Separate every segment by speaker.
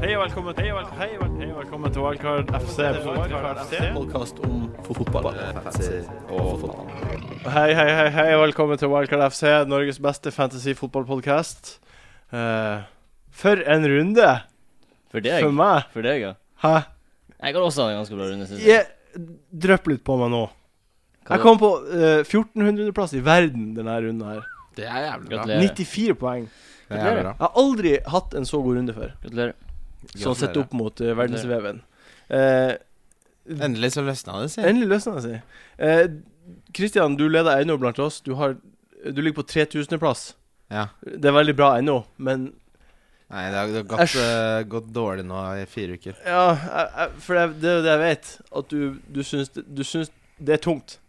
Speaker 1: Hei og velkommen til Hei og vel- hei og velkommen til Wildcard FC.
Speaker 2: Podkast om fotball.
Speaker 1: Hei, hei, hei, hei og velkommen til Wildcard FC, Norges beste fantasy-fotballpodkast. Eh, for en runde for
Speaker 3: For deg?
Speaker 1: meg!
Speaker 3: For deg, ja.
Speaker 1: Hæ?
Speaker 3: Jeg har også hatt en ganske bra runde, synes jeg.
Speaker 1: Jeg Drypp litt på meg nå.
Speaker 3: Hva
Speaker 1: Jeg kom på eh, 1400-plass i verden denne runden her.
Speaker 2: Det er jævlig bra.
Speaker 3: Gratulerer.
Speaker 1: 94 poeng.
Speaker 2: Det er jævlig bra.
Speaker 1: Jeg har aldri hatt en så god runde før,
Speaker 3: Gratulerer.
Speaker 1: sånn sett opp mot eh, verdensveven. Eh,
Speaker 2: Endelig så løsna det, sier jeg.
Speaker 1: Endelig løsna det seg. Eh, Kristian, du leder ennå blant oss. Du, har, du ligger på 3000.-plass.
Speaker 2: Ja.
Speaker 1: Det er veldig bra ennå, men
Speaker 2: Nei, det har, det har gått,
Speaker 1: Æsj.
Speaker 2: eh, gått dårlig nå i fire uker.
Speaker 1: Ja, jeg, jeg, for det, er- det er jo det jeg vet. At du, du, syns, det- du syns det er tungt.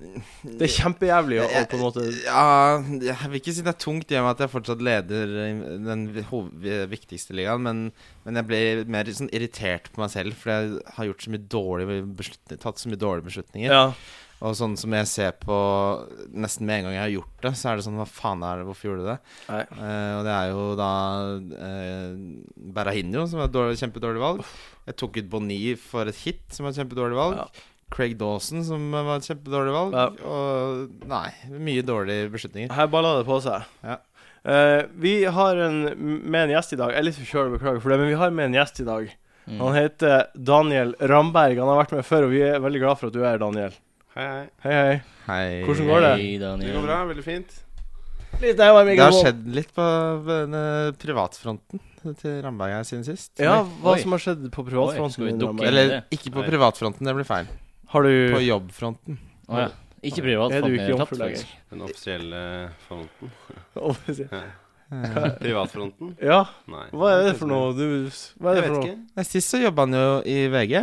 Speaker 1: Det er kjempejævlig å å på en måte
Speaker 2: Ja, jeg vil ikke si det er tungt i og med at jeg fortsatt leder i den vi- hov- vi- viktigste ligaen, men, men jeg ble mer sånn irritert på meg selv, for jeg har gjort så mye dårlige beslutninger, tatt så mye dårlige beslutninger.
Speaker 1: Ja.
Speaker 2: Og sånn som jeg ser på nesten med en gang jeg har gjort det, så er det sånn Hva faen er det, hvorfor gjorde du det?
Speaker 1: Nei.
Speaker 2: Eh, og det er jo da uh, Berahino, som var et dårlig, kjempedårlig valg. Jeg tok ut Boni for et hit, som var et kjempedårlig valg.
Speaker 1: Ja.
Speaker 2: Craig Dawson, som var et kjempedårlig valg.
Speaker 1: Ja.
Speaker 2: Og nei, mye dårlige beslutninger.
Speaker 1: Her baller det på seg.
Speaker 2: Ja.
Speaker 1: Eh, vi har en, med en gjest i dag. Jeg er litt forkjøla, beklager for det, men vi har med en gjest i dag.
Speaker 3: Mm.
Speaker 1: Han heter Daniel Ramberg. Han har vært med før, og vi er veldig glad for at du er her, Daniel.
Speaker 4: Hei, hei.
Speaker 1: Hei, hei.
Speaker 2: Hei.
Speaker 1: Hvordan går det?
Speaker 3: Hei,
Speaker 4: Det
Speaker 3: Daniel.
Speaker 4: går bra. Veldig fint.
Speaker 1: Litt nærmere
Speaker 2: Det har skjedd litt på denne privatfronten til Ramberg her siden sist.
Speaker 1: Ja, hva
Speaker 3: Oi.
Speaker 1: som har skjedd på
Speaker 3: Oi, skal
Speaker 1: privatfronten
Speaker 3: vi
Speaker 1: din,
Speaker 3: dukke
Speaker 1: Ramberg?
Speaker 3: inn?
Speaker 2: Eller ikke på
Speaker 4: Nei.
Speaker 2: privatfronten, det blir feil.
Speaker 1: Har du
Speaker 2: På jobbfronten.
Speaker 3: Å, ja. Ikke privat.
Speaker 1: Er du
Speaker 3: fant
Speaker 1: ikke
Speaker 3: jeg tatt,
Speaker 1: jomfru lenger?
Speaker 3: faktisk.
Speaker 4: Den offisielle fronten.
Speaker 2: Eh,
Speaker 4: Privatfronten?
Speaker 1: Ja,
Speaker 4: Nei.
Speaker 1: hva er det for noe? Du, hva er
Speaker 4: Jeg
Speaker 1: det
Speaker 4: vet
Speaker 1: for noe?
Speaker 4: ikke.
Speaker 2: Nei, Sist så jobba han jo i VG,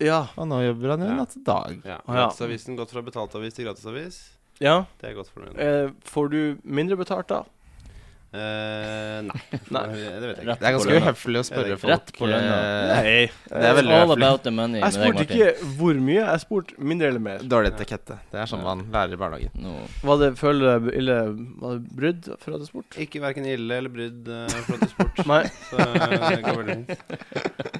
Speaker 1: Ja.
Speaker 2: og nå jobber han jo
Speaker 4: Ja.
Speaker 2: natt til dag.
Speaker 4: Ja.
Speaker 1: Å, ja.
Speaker 4: Gratisavisen gått fra betalt avis til gratisavis.
Speaker 1: ja.
Speaker 4: Det er jeg godt fornøyd med.
Speaker 1: Eh, får du mindre betalt da?
Speaker 4: Eh, nei.
Speaker 1: Nei.
Speaker 4: Det vet jeg ikke.
Speaker 2: Det
Speaker 3: Rett
Speaker 2: er
Speaker 3: på
Speaker 2: ganske
Speaker 3: lønna.
Speaker 2: uhøflig å spørre
Speaker 4: det
Speaker 3: ikke.
Speaker 2: folk
Speaker 3: Rett på lønna.
Speaker 2: eh,
Speaker 1: Nei.
Speaker 2: Det er veldig
Speaker 3: All
Speaker 2: høflig.
Speaker 3: about the money
Speaker 1: Jeg
Speaker 3: med deg,
Speaker 1: spurte
Speaker 3: Martin.
Speaker 1: ikke hvor mye, jeg spurte mindre eller mer.
Speaker 2: Dårlig etikette. Det er sånn
Speaker 3: Ja.
Speaker 2: man lærer i barnehagen.
Speaker 3: Nå-
Speaker 1: Var det føler du deg ille Var det brudd for at jeg spurte?
Speaker 4: Ikke hverken ille eller brydd uh, for at du sport.
Speaker 1: Nei.
Speaker 4: Så det går veldig fint.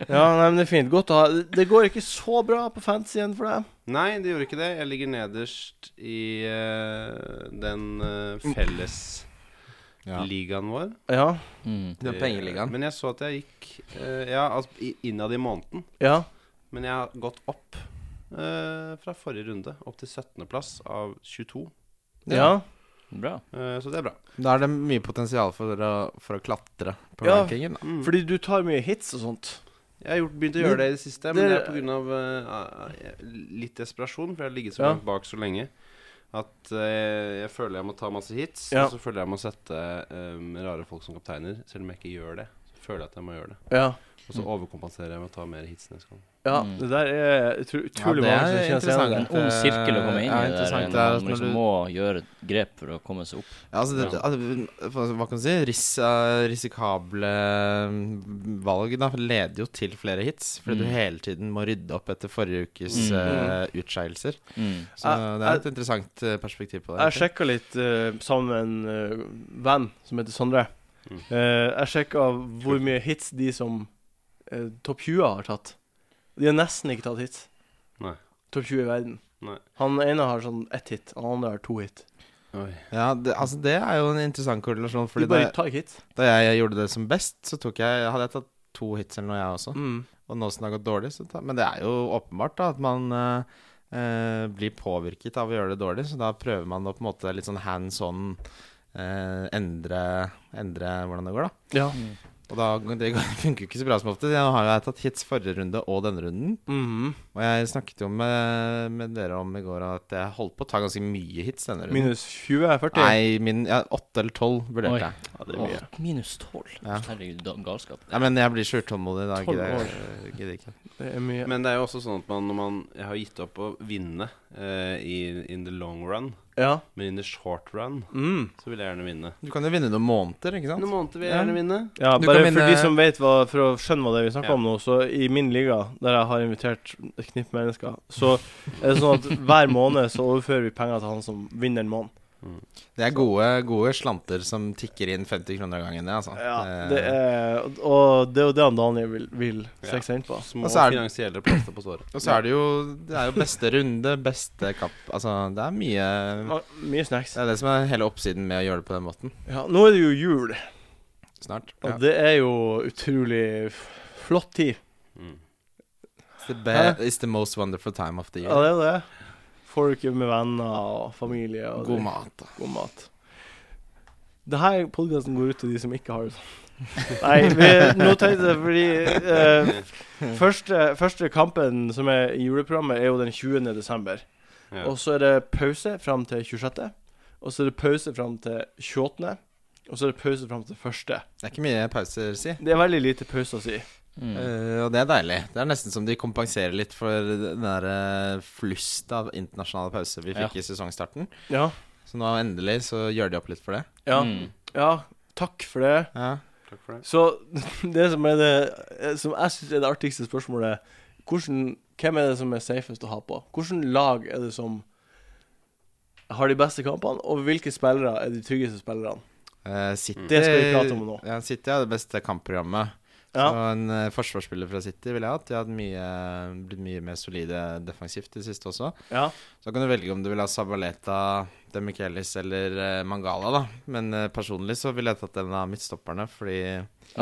Speaker 1: Ja, nei, men det er fint. Godt å ha Det går ikke så bra på fantasyen for deg.
Speaker 4: Nei, det gjorde ikke det. Jeg ligger nederst i eh, den uh, fellesligaen vår. Eh,
Speaker 1: Ja.
Speaker 3: Mm.
Speaker 2: Den pengeligaen.
Speaker 4: Men jeg så at jeg gikk eh, Ja, altså i- innad i måneden.
Speaker 1: Ja.
Speaker 4: Men jeg har gått opp eh, fra forrige runde, opp til 17.-plass av 22.
Speaker 1: Ja.
Speaker 3: Bra.
Speaker 4: eh, så det er bra.
Speaker 2: Da er det mye potensial for å, for å klatre på
Speaker 1: Ja.
Speaker 2: rankingen. Da.
Speaker 4: Mm.
Speaker 1: Fordi du tar mye hits og sånt.
Speaker 4: jeg har gjort, begynt å gjøre det i det siste, men det
Speaker 1: det-
Speaker 4: er pga. Uh, litt desperasjon, for jeg har ligget så
Speaker 1: Ja.
Speaker 4: langt bak så lenge. At eh, jeg føler jeg må ta masse hits,
Speaker 1: Ja.
Speaker 4: og så føler jeg må sette eh, rare folk som kapteiner. Selv om jeg ikke gjør det, så føler jeg at jeg må gjøre det.
Speaker 1: Ja.
Speaker 4: Og så overkompenserer jeg med å ta mer hits neste gang.
Speaker 1: Ja,
Speaker 3: Mm.
Speaker 1: det der er utro- utrolig
Speaker 2: det
Speaker 1: mange som
Speaker 2: er
Speaker 1: kjenner seg igjen i
Speaker 3: En
Speaker 1: det.
Speaker 2: interessant.
Speaker 3: ond sirkel å komme inn
Speaker 2: Ja,
Speaker 3: i. Der,
Speaker 2: interessant
Speaker 3: når
Speaker 2: det er at
Speaker 3: man
Speaker 2: når
Speaker 3: liksom
Speaker 2: du-
Speaker 3: må gjøre et grep for å komme seg opp.
Speaker 2: Ja, altså, det, al- hva kan du si? Ris, eh, risikable mm, valg da, leder jo til flere hits, fordi
Speaker 3: Mm.
Speaker 2: du hele tiden må rydde opp etter forrige ukes
Speaker 3: Mm.
Speaker 2: eh, utskeielser.
Speaker 3: Mm.
Speaker 2: Så det er et interessant eh, perspektiv på det.
Speaker 1: Jeg sjekka litt eh, sammen med en eh, venn som heter Sondre.
Speaker 4: Mm.
Speaker 1: Eh, jeg sjekka hvor mye hits de som eh, topp 20 har tatt. De har nesten ikke tatt hits.
Speaker 4: Nei.
Speaker 1: Topp 20 i verden.
Speaker 4: Nei.
Speaker 1: Han ene har sånn ett hit, han andre har to hit.
Speaker 4: Oi.
Speaker 2: Ja, det, altså, det er jo en interessant korrelasjon,
Speaker 1: De
Speaker 2: fordi det,
Speaker 1: bare tar ikke hits.
Speaker 2: Da jeg gjorde det som best, så tok jeg, hadde jeg tatt to hits eller noe, jeg også.
Speaker 1: Mm.
Speaker 2: Og nå som det har gått dårlig, så ta, Men det er jo åpenbart da at man eh, eh, blir påvirket av å gjøre det dårlig, så da prøver man å på en måte litt sånn hands on eh, endre, endre hvordan det går, da.
Speaker 1: Ja.
Speaker 2: Og da, det går- funker jo ikke så bra som ofte. Nå har jeg tatt hits forrige runde og denne runden.
Speaker 1: Mhm.
Speaker 2: Og jeg snakket jo med, med dere om i går at jeg holdt på å ta ganske mye hits denne runden.
Speaker 1: Minus 20 er 40.
Speaker 2: Nei, min, ja, åtte eller tolv
Speaker 3: Oi.
Speaker 2: vurderte jeg.
Speaker 1: Ja, det er mye.
Speaker 3: Åh, minus tolv.
Speaker 2: Ja.
Speaker 3: Herregud, da- galskap.
Speaker 2: Nei, men jeg blir så utålmodig. Da
Speaker 1: Tolv
Speaker 2: gidder jeg-
Speaker 1: år.
Speaker 2: jeg gidder ikke.
Speaker 1: Det er mye.
Speaker 4: Men det er jo også sånn at man, når man jeg har gitt opp å vinne eh, i, in the long run,
Speaker 1: Ja.
Speaker 4: men in the short run
Speaker 1: Mm.
Speaker 4: så vil jeg gjerne vinne.
Speaker 2: Du kan jo vinne noen måneder, ikke sant?
Speaker 4: Noen måneder vil jeg gjerne vinne.
Speaker 1: Ja,
Speaker 2: Du
Speaker 1: bare
Speaker 2: kan
Speaker 1: for
Speaker 2: vinne-
Speaker 1: de som vet hva, For å skjønne hva det er vi snakker
Speaker 4: Ja.
Speaker 1: om nå, så i min liga, der jeg har invitert et knippe mennesker, så er det sånn at hver måned så overfører vi penger til han som vinner en måned.
Speaker 2: Det er gode, gode slanter som tikker inn 50 kroner av gangen, det, altså.
Speaker 1: Ja,
Speaker 2: Det-
Speaker 1: det er, og det er jo det han Daniel vil, vil
Speaker 4: Ja.
Speaker 1: strekke seg inn på.
Speaker 4: Små
Speaker 2: Og så er det-
Speaker 4: finansielle plaster på såret.
Speaker 2: Og så er det jo Det er jo beste runde, beste kapp Altså, det er mye
Speaker 1: Ja, Mye snacks.
Speaker 2: Det er det som er hele oppsiden med å gjøre det på den måten.
Speaker 1: Ja, nå er det jo jul,
Speaker 2: Snart.
Speaker 1: og
Speaker 2: Ja.
Speaker 1: det er jo utrolig f- flott tid.
Speaker 4: Mm.
Speaker 2: It's, the be it's the most wonderful time of the
Speaker 1: Ja,
Speaker 2: year.
Speaker 1: det er jo det. Får uker med venner og familie og
Speaker 2: God mat. da.
Speaker 1: god mat. Denne podkasten går ut til de som ikke har det sånn. Nei, vi, nå tenkte jeg fordi eh, første, første kampen som er i juleprogrammet, er jo den 20. desember.
Speaker 4: Ja.
Speaker 1: Og så er det pause fram til 26. Og så er det pause fram til 28. Og så er det pause fram til 1.
Speaker 2: Det er ikke mye pauser, si.
Speaker 1: Det er veldig lite pause å si.
Speaker 3: Mm.
Speaker 2: Eh, og det er deilig. Det er nesten som de kompenserer litt for den der eh, flust av internasjonale pauser vi
Speaker 3: Ja.
Speaker 2: fikk i sesongstarten.
Speaker 1: Ja.
Speaker 2: Så nå endelig så gjør de opp litt for det.
Speaker 1: Ja.
Speaker 3: Mm.
Speaker 1: ja takk for det.
Speaker 2: Ja.
Speaker 4: Takk for det.
Speaker 1: Så det som er det eh, Som jeg syns er det artigste spørsmålet, hvordan, hvem er det som er safest å ha på? Hvilket lag er det som har de beste kampene, og hvilke spillere er de tryggeste spillerne?
Speaker 2: Eh, City,
Speaker 1: Det skal vi prate om nå.
Speaker 2: Ja, City har det beste kampprogrammet. Så
Speaker 1: Ja.
Speaker 2: en eh, forsvarsspiller fra City ville jeg hatt. De har hatt mye, blitt mye mer solide defensivt i det siste også.
Speaker 1: ja.
Speaker 2: Så kan du velge om du vil ha Sabaleta, Demichelis eller eh, Mangala, da. Men eh, personlig så ville jeg tatt en av midtstopperne, fordi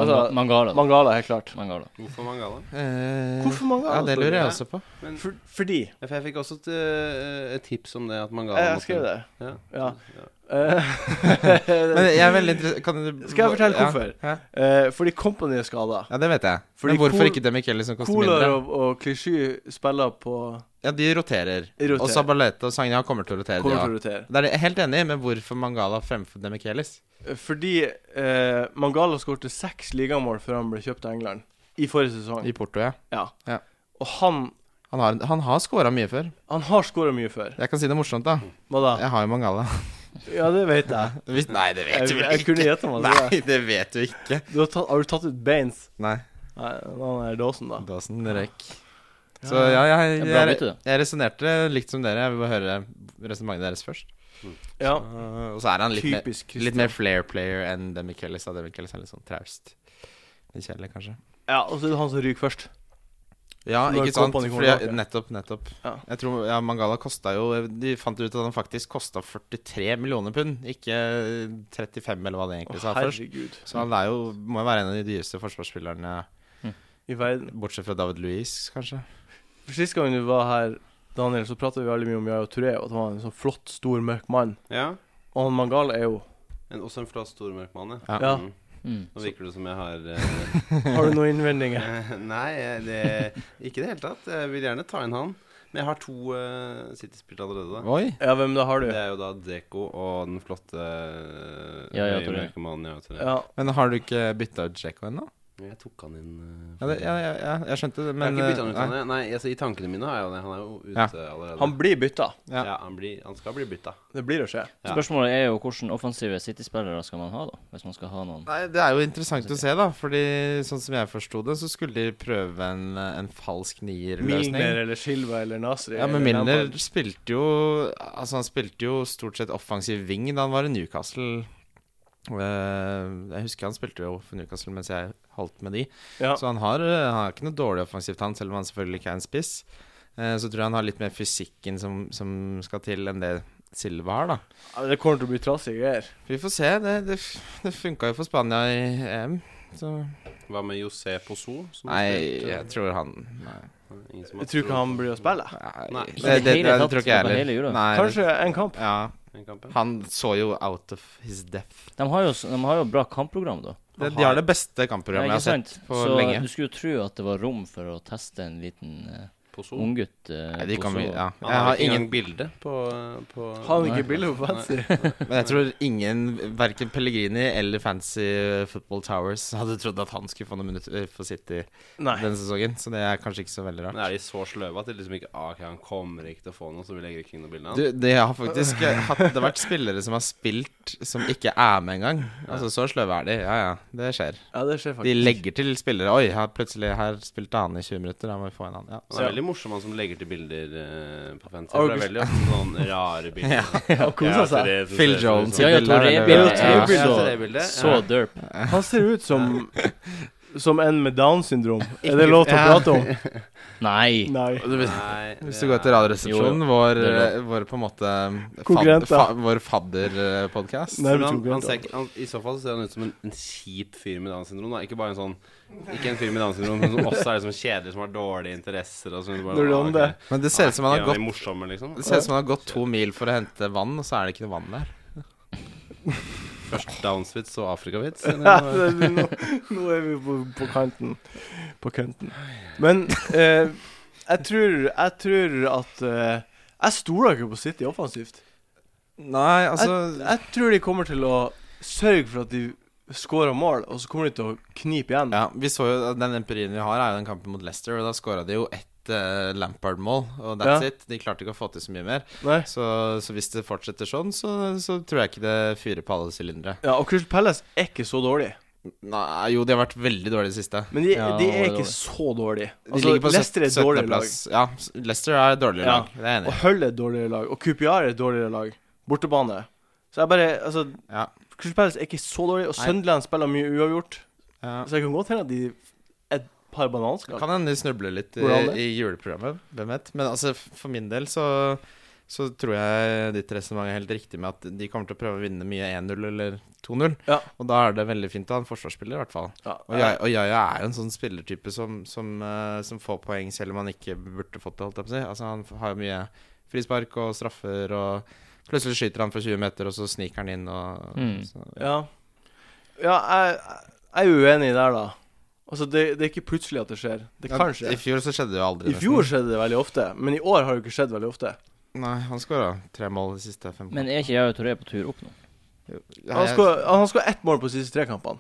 Speaker 1: Altså,
Speaker 3: Manga- Mangala. da.
Speaker 1: Mangala, helt klart.
Speaker 3: Mangala.
Speaker 4: Hvorfor Mangala?
Speaker 2: eh,
Speaker 1: Hvorfor Mangala?
Speaker 2: Ja, det
Speaker 1: spør du?
Speaker 2: lurer jeg
Speaker 4: jeg?
Speaker 2: også på.
Speaker 4: Men,
Speaker 1: For, fordi
Speaker 4: Ja, for jeg fikk også et, eh, et tips om det, at Mangala
Speaker 1: Jeg, jeg skrev det.
Speaker 4: Ja.
Speaker 1: Ja.
Speaker 4: Ja.
Speaker 2: Men
Speaker 1: Eh,
Speaker 2: jeg er veldig interessert kan du,
Speaker 1: Skal jeg fortelle
Speaker 2: ja,
Speaker 1: hvorfor?
Speaker 2: Ja,
Speaker 1: eh, fordi Company er skada.
Speaker 2: ja, det vet jeg.
Speaker 1: Fordi
Speaker 2: Men hvorfor
Speaker 1: Kol-
Speaker 2: ikke Demichelis, som koster
Speaker 1: Kolar
Speaker 2: mindre?
Speaker 1: og, og Klishy spiller på
Speaker 2: Ja, de roterer.
Speaker 1: Roterer.
Speaker 2: Og Sabaleta og Sagna kommer til å rotere, de
Speaker 1: Kommer til å
Speaker 2: også.
Speaker 1: rotere.
Speaker 2: Det er jeg helt enig i, men hvorfor Mangala fremfor Demichelis?
Speaker 1: Fordi eh, Mangala skårte seks ligamål før han ble kjøpt av England i forrige sesong.
Speaker 2: I Porto, ja.
Speaker 1: Ja.
Speaker 2: Ja.
Speaker 1: Og han
Speaker 2: Han har, han har scora mye før.
Speaker 1: Han har skåra mye før.
Speaker 2: Jeg kan si det morsomt, da.
Speaker 1: Hva da?
Speaker 2: Jeg har jo Mangala.
Speaker 1: Ja, det vet jeg.
Speaker 2: Hvis, nei, det vet
Speaker 1: Jeg,
Speaker 2: du vel
Speaker 1: jeg
Speaker 2: ikke.
Speaker 1: kunne gjette meg til det.
Speaker 2: Nei, det vet du ikke.
Speaker 1: Du har, tatt, har du tatt ut Baines?
Speaker 2: Nei,
Speaker 1: Nei, han er dåsen, da.
Speaker 2: Dawson røyk. Så ja, jeg,
Speaker 3: Det er bra
Speaker 2: jeg,
Speaker 3: bytte, det.
Speaker 2: jeg resonnerte likt som dere. Jeg vil bare høre resonnementet deres først.
Speaker 1: Ja.
Speaker 2: Uh, og så er han litt, mer,
Speaker 1: Typisk
Speaker 2: litt
Speaker 1: Christian.
Speaker 2: mer flair player enn Demichelis. da. Demichelis er litt sånn traust. Litt kjedelig, kanskje.
Speaker 1: Ja, og så er det han som ryker først.
Speaker 2: Ja,
Speaker 1: Når
Speaker 2: ikke sant?
Speaker 1: Kompany kommer
Speaker 2: Fordi jeg,
Speaker 1: tilbake.
Speaker 2: nettopp, nettopp.
Speaker 1: Ja.
Speaker 2: Jeg tror ja, Mangala kosta jo De fant ut at han faktisk kosta 43 millioner pund, ikke 35 eller hva det
Speaker 1: Å,
Speaker 2: egentlig sa først.
Speaker 1: herregud.
Speaker 2: Så han er jo, må jo være en av de dyreste forsvarsspillerne,
Speaker 1: I verden.
Speaker 2: bortsett fra David Louis, kanskje.
Speaker 1: For Sist gang du var her, Daniel, så prata vi veldig mye om Yaya Touré, og at han var en sånn flott, stor, mørk mann.
Speaker 4: ja.
Speaker 1: Og han Mangala er jo
Speaker 4: En, også en flott stor mørk mann,
Speaker 2: Ja.
Speaker 1: Ja.
Speaker 4: Mm.
Speaker 3: Mm.
Speaker 4: Nå virker det som jeg har eh,
Speaker 1: Har du noen innvendinger?
Speaker 4: eh, Nei, eh, det, ikke i det hele tatt. Jeg vil gjerne ta inn han. Men jeg har to eh, City-spill allerede. da.
Speaker 2: Oi!
Speaker 1: Ja, hvem da har du?
Speaker 4: Det er jo da Deko og den flotte eh,
Speaker 3: Ja, ja, Torre.
Speaker 4: mørke mannen. Ja, Torre.
Speaker 1: Ja.
Speaker 2: Men har du ikke bytta ut Djeko ennå?
Speaker 4: Jeg tok han inn eh,
Speaker 2: Ja, det- ja, ja, ja, jeg skjønte det, men
Speaker 4: jeg har ikke bytta han ut
Speaker 2: eh,
Speaker 4: ennå. Nei, altså, I tankene mine har jeg jo det. Han er jo
Speaker 2: Ja.
Speaker 4: ute allerede.
Speaker 1: Han blir bytta.
Speaker 2: ja.
Speaker 4: ja. han, blir, han skal bli bytta.
Speaker 1: Det blir å skje.
Speaker 4: Ja.
Speaker 3: Spørsmålet er jo hvordan offensive City-spillere skal man ha, da? Hvis man skal ha noen.
Speaker 2: Nei, Det er jo interessant å se, da. Fordi sånn som jeg forsto det, så skulle de prøve en, en falsk
Speaker 1: Milner
Speaker 2: nier-løsning.
Speaker 1: eller Silva eller Nasri.
Speaker 2: Ja, men
Speaker 1: eller
Speaker 2: Milner
Speaker 1: Lampard.
Speaker 2: spilte jo Altså, han spilte jo stort sett offensiv wing da han var i Newcastle. Eh, Jeg husker han spilte jo for Newcastle mens jeg holdt med de.
Speaker 1: Ja.
Speaker 2: Så han har, eh, han har ikke noe dårlig offensivt, han, selv om han selvfølgelig ikke er en spiss. Eh, Så tror jeg han har litt mer fysikken som, som skal til, enn det Silva har, da.
Speaker 1: Ja, Det kommer til å bli trasige greier.
Speaker 2: Vi får se. Det, det, det funka jo for Spania i EM. Så
Speaker 4: Hva med José Pozo? som
Speaker 2: Nei,
Speaker 4: spilte-
Speaker 2: jeg tror han Nei.
Speaker 4: Ingen som har
Speaker 1: Jeg tror ikke
Speaker 4: trodd
Speaker 1: han blir å spille.
Speaker 4: Nei.
Speaker 2: Det,
Speaker 4: I
Speaker 2: det,
Speaker 3: det
Speaker 2: det,
Speaker 3: hele tatt,
Speaker 2: tror ikke jeg
Speaker 3: på hele
Speaker 2: heller.
Speaker 3: jorda.
Speaker 2: Nei, det-
Speaker 1: Kanskje en kamp.
Speaker 2: Ja.
Speaker 4: den kampen.
Speaker 2: Han så jo out of his depth.
Speaker 3: De har jo, s- de har jo bra kampprogram, da.
Speaker 2: De, de har det beste kampprogrammet
Speaker 3: Nei,
Speaker 2: jeg har
Speaker 3: ikke sant?
Speaker 2: sett på
Speaker 3: så
Speaker 2: lenge.
Speaker 3: du skulle jo tro at det var rom for å teste en liten uh,
Speaker 4: Pozo.
Speaker 3: unggutt. eh,
Speaker 2: Oh. Nei, de
Speaker 3: på
Speaker 2: kommer,
Speaker 3: så-
Speaker 2: ja.
Speaker 4: Han
Speaker 2: Jeg har ingen
Speaker 4: engang bilde på, eh, på
Speaker 1: Har han
Speaker 3: Nei.
Speaker 1: ikke bilde på Fancy?
Speaker 2: Men jeg tror ingen, verken Pellegrini eller Fancy Football Towers, hadde trodd at han skulle få noen minutter for City
Speaker 1: Nei.
Speaker 2: denne sesongen. Så det er kanskje ikke så veldig
Speaker 4: Men
Speaker 2: rart.
Speaker 4: er de så sløve at de liksom ikke ah, ok, han kommer ikke til å få noe, så vi legger ikke inn noe bilde av
Speaker 2: Du,
Speaker 4: han?
Speaker 2: det har faktisk eh, hatt, det har vært spillere som har spilt som ikke er med engang. Altså, så sløve er de. Ja, ja. Det skjer.
Speaker 1: Ja, det skjer
Speaker 2: De
Speaker 1: faktisk.
Speaker 2: legger til spillere. Oi, her, plutselig her spilte han i 20 minutter. Da må vi få en annen. Ja.
Speaker 4: Han er
Speaker 1: Ja.
Speaker 4: veldig morsomme han som legger til bilder eh, på fancy. Det er
Speaker 1: August-
Speaker 4: veldig ofte sånne rare bilder.
Speaker 1: Og koser seg.
Speaker 4: Therese
Speaker 2: Phil
Speaker 4: ser
Speaker 2: Jones.
Speaker 4: sånn-
Speaker 3: Ja, ja, Toré
Speaker 2: Ja,
Speaker 3: bildet
Speaker 1: ja,
Speaker 3: er
Speaker 4: ja,
Speaker 3: jo
Speaker 4: Toré bildet, ja.
Speaker 3: så, så derp.
Speaker 1: Han ser ut som Som en med Downs syndrom. Er det lov til å prate om?
Speaker 3: Nei.
Speaker 1: Nei.
Speaker 2: Du, hvis,
Speaker 4: Nei,
Speaker 2: hvis
Speaker 4: det
Speaker 2: du går til
Speaker 4: er-
Speaker 2: Radioresepsjonen, vår, eh,
Speaker 3: det er
Speaker 2: vår på en måte fad-
Speaker 1: Konkurrent, da.
Speaker 2: fa- Vår fadderpodkast.
Speaker 1: Nei,
Speaker 4: Men
Speaker 1: vi
Speaker 4: han,
Speaker 1: tror ikke
Speaker 4: han ser,
Speaker 1: det.
Speaker 4: ikke- han, I så fall så ser han ut som en, en kjip fyr med Downs syndrom. Da. Ikke bare en sånn Ikke en fyr med Downs syndrom, men som også er liksom kjedelig, som har dårlige interesser. Og sånn, Du bare,
Speaker 1: Når du
Speaker 4: ah,
Speaker 1: om
Speaker 4: ok.
Speaker 1: det.
Speaker 2: Men det ser ut som han
Speaker 4: Ja,
Speaker 2: har
Speaker 4: de
Speaker 2: gått
Speaker 4: morsomme, liksom.
Speaker 2: det ser ut som han har gått to mil for å hente vann, og så er det ikke noe vann der.
Speaker 4: Først Downs-vits og Afrika-vits.
Speaker 1: Ja,
Speaker 4: eller?
Speaker 1: det- det- nå, nå er vi på, på kanten. På kanten. Men eh, jeg tror Jeg tror at eh, Jeg stoler ikke på City offensivt.
Speaker 2: Nei, altså
Speaker 1: Jeg tror de kommer til å sørge for at de scorer mål, og så kommer de til å knipe igjen.
Speaker 2: Ja, vi så jo Den empirien vi har, er jo den kampen mot Leicester, og da skåra de jo ett eh, Lampard-mål, og that's
Speaker 1: Ja.
Speaker 2: it. De klarte ikke å få til så mye mer.
Speaker 1: Nei?
Speaker 2: Så, så hvis det fortsetter sånn, så, så tror jeg ikke det fyrer på alle sylindere.
Speaker 1: Ja, og Crystal Palace er ikke så dårlige.
Speaker 2: Nei, jo, de har vært veldig dårlige i det siste.
Speaker 1: Men de,
Speaker 3: Ja,
Speaker 1: de
Speaker 3: de
Speaker 1: er
Speaker 3: er
Speaker 1: ikke
Speaker 3: dårlige.
Speaker 1: så dårlige.
Speaker 2: De
Speaker 1: Altså,
Speaker 2: ligger på
Speaker 1: Leicester er et
Speaker 2: 17.
Speaker 1: dårligere lag.
Speaker 2: plass. Ja, Leicester er et dårligere
Speaker 1: Ja.
Speaker 2: lag. Det er
Speaker 1: Og
Speaker 2: jeg enig i.
Speaker 1: Hull er et dårligere lag. Og QPR er et dårligere lag. Bortebane. Så jeg bare Altså,
Speaker 2: Ja.
Speaker 1: Crystal Palace er ikke så dårlig, og
Speaker 2: Nei.
Speaker 1: Sunderland spiller mye uavgjort.
Speaker 2: Ja.
Speaker 1: Så jeg kan godt hende at de et par bananskall.
Speaker 2: Kan hende de snubler litt i,
Speaker 1: Hvordan det?
Speaker 2: i juleprogrammet, hvem vet. Men altså, f- for min del så, så tror jeg ditt resonnement er helt riktig med at de kommer til å prøve å vinne mye 1-0 eller 2-0.
Speaker 1: Ja.
Speaker 2: Og da er det veldig fint å ha en forsvarsspiller, i hvert fall.
Speaker 1: Ja,
Speaker 2: Og Jaja og Yahya er jo en sånn spillertype som, som, eh, som får poeng selv om han ikke burde fått det. holdt jeg på å si Altså Han har jo mye frispark og straffer, og plutselig skyter han fra 20 meter, og så sniker han inn. Og,
Speaker 3: Mm.
Speaker 2: så,
Speaker 1: Ja, ja jeg, jeg er uenig der, da. Altså, det, det er ikke plutselig at det skjer. Det kan skje.
Speaker 2: I fjor så skjedde det jo aldri.
Speaker 1: I fjor skjedde det veldig ofte, men i år har det ikke skjedd veldig ofte.
Speaker 2: nesten. Nei, han skåra tre mål de siste fem
Speaker 3: Men er ikke jeg og Toré på tur opp nå?
Speaker 1: Han skal, han skal ha ett mål på de siste tre kampene.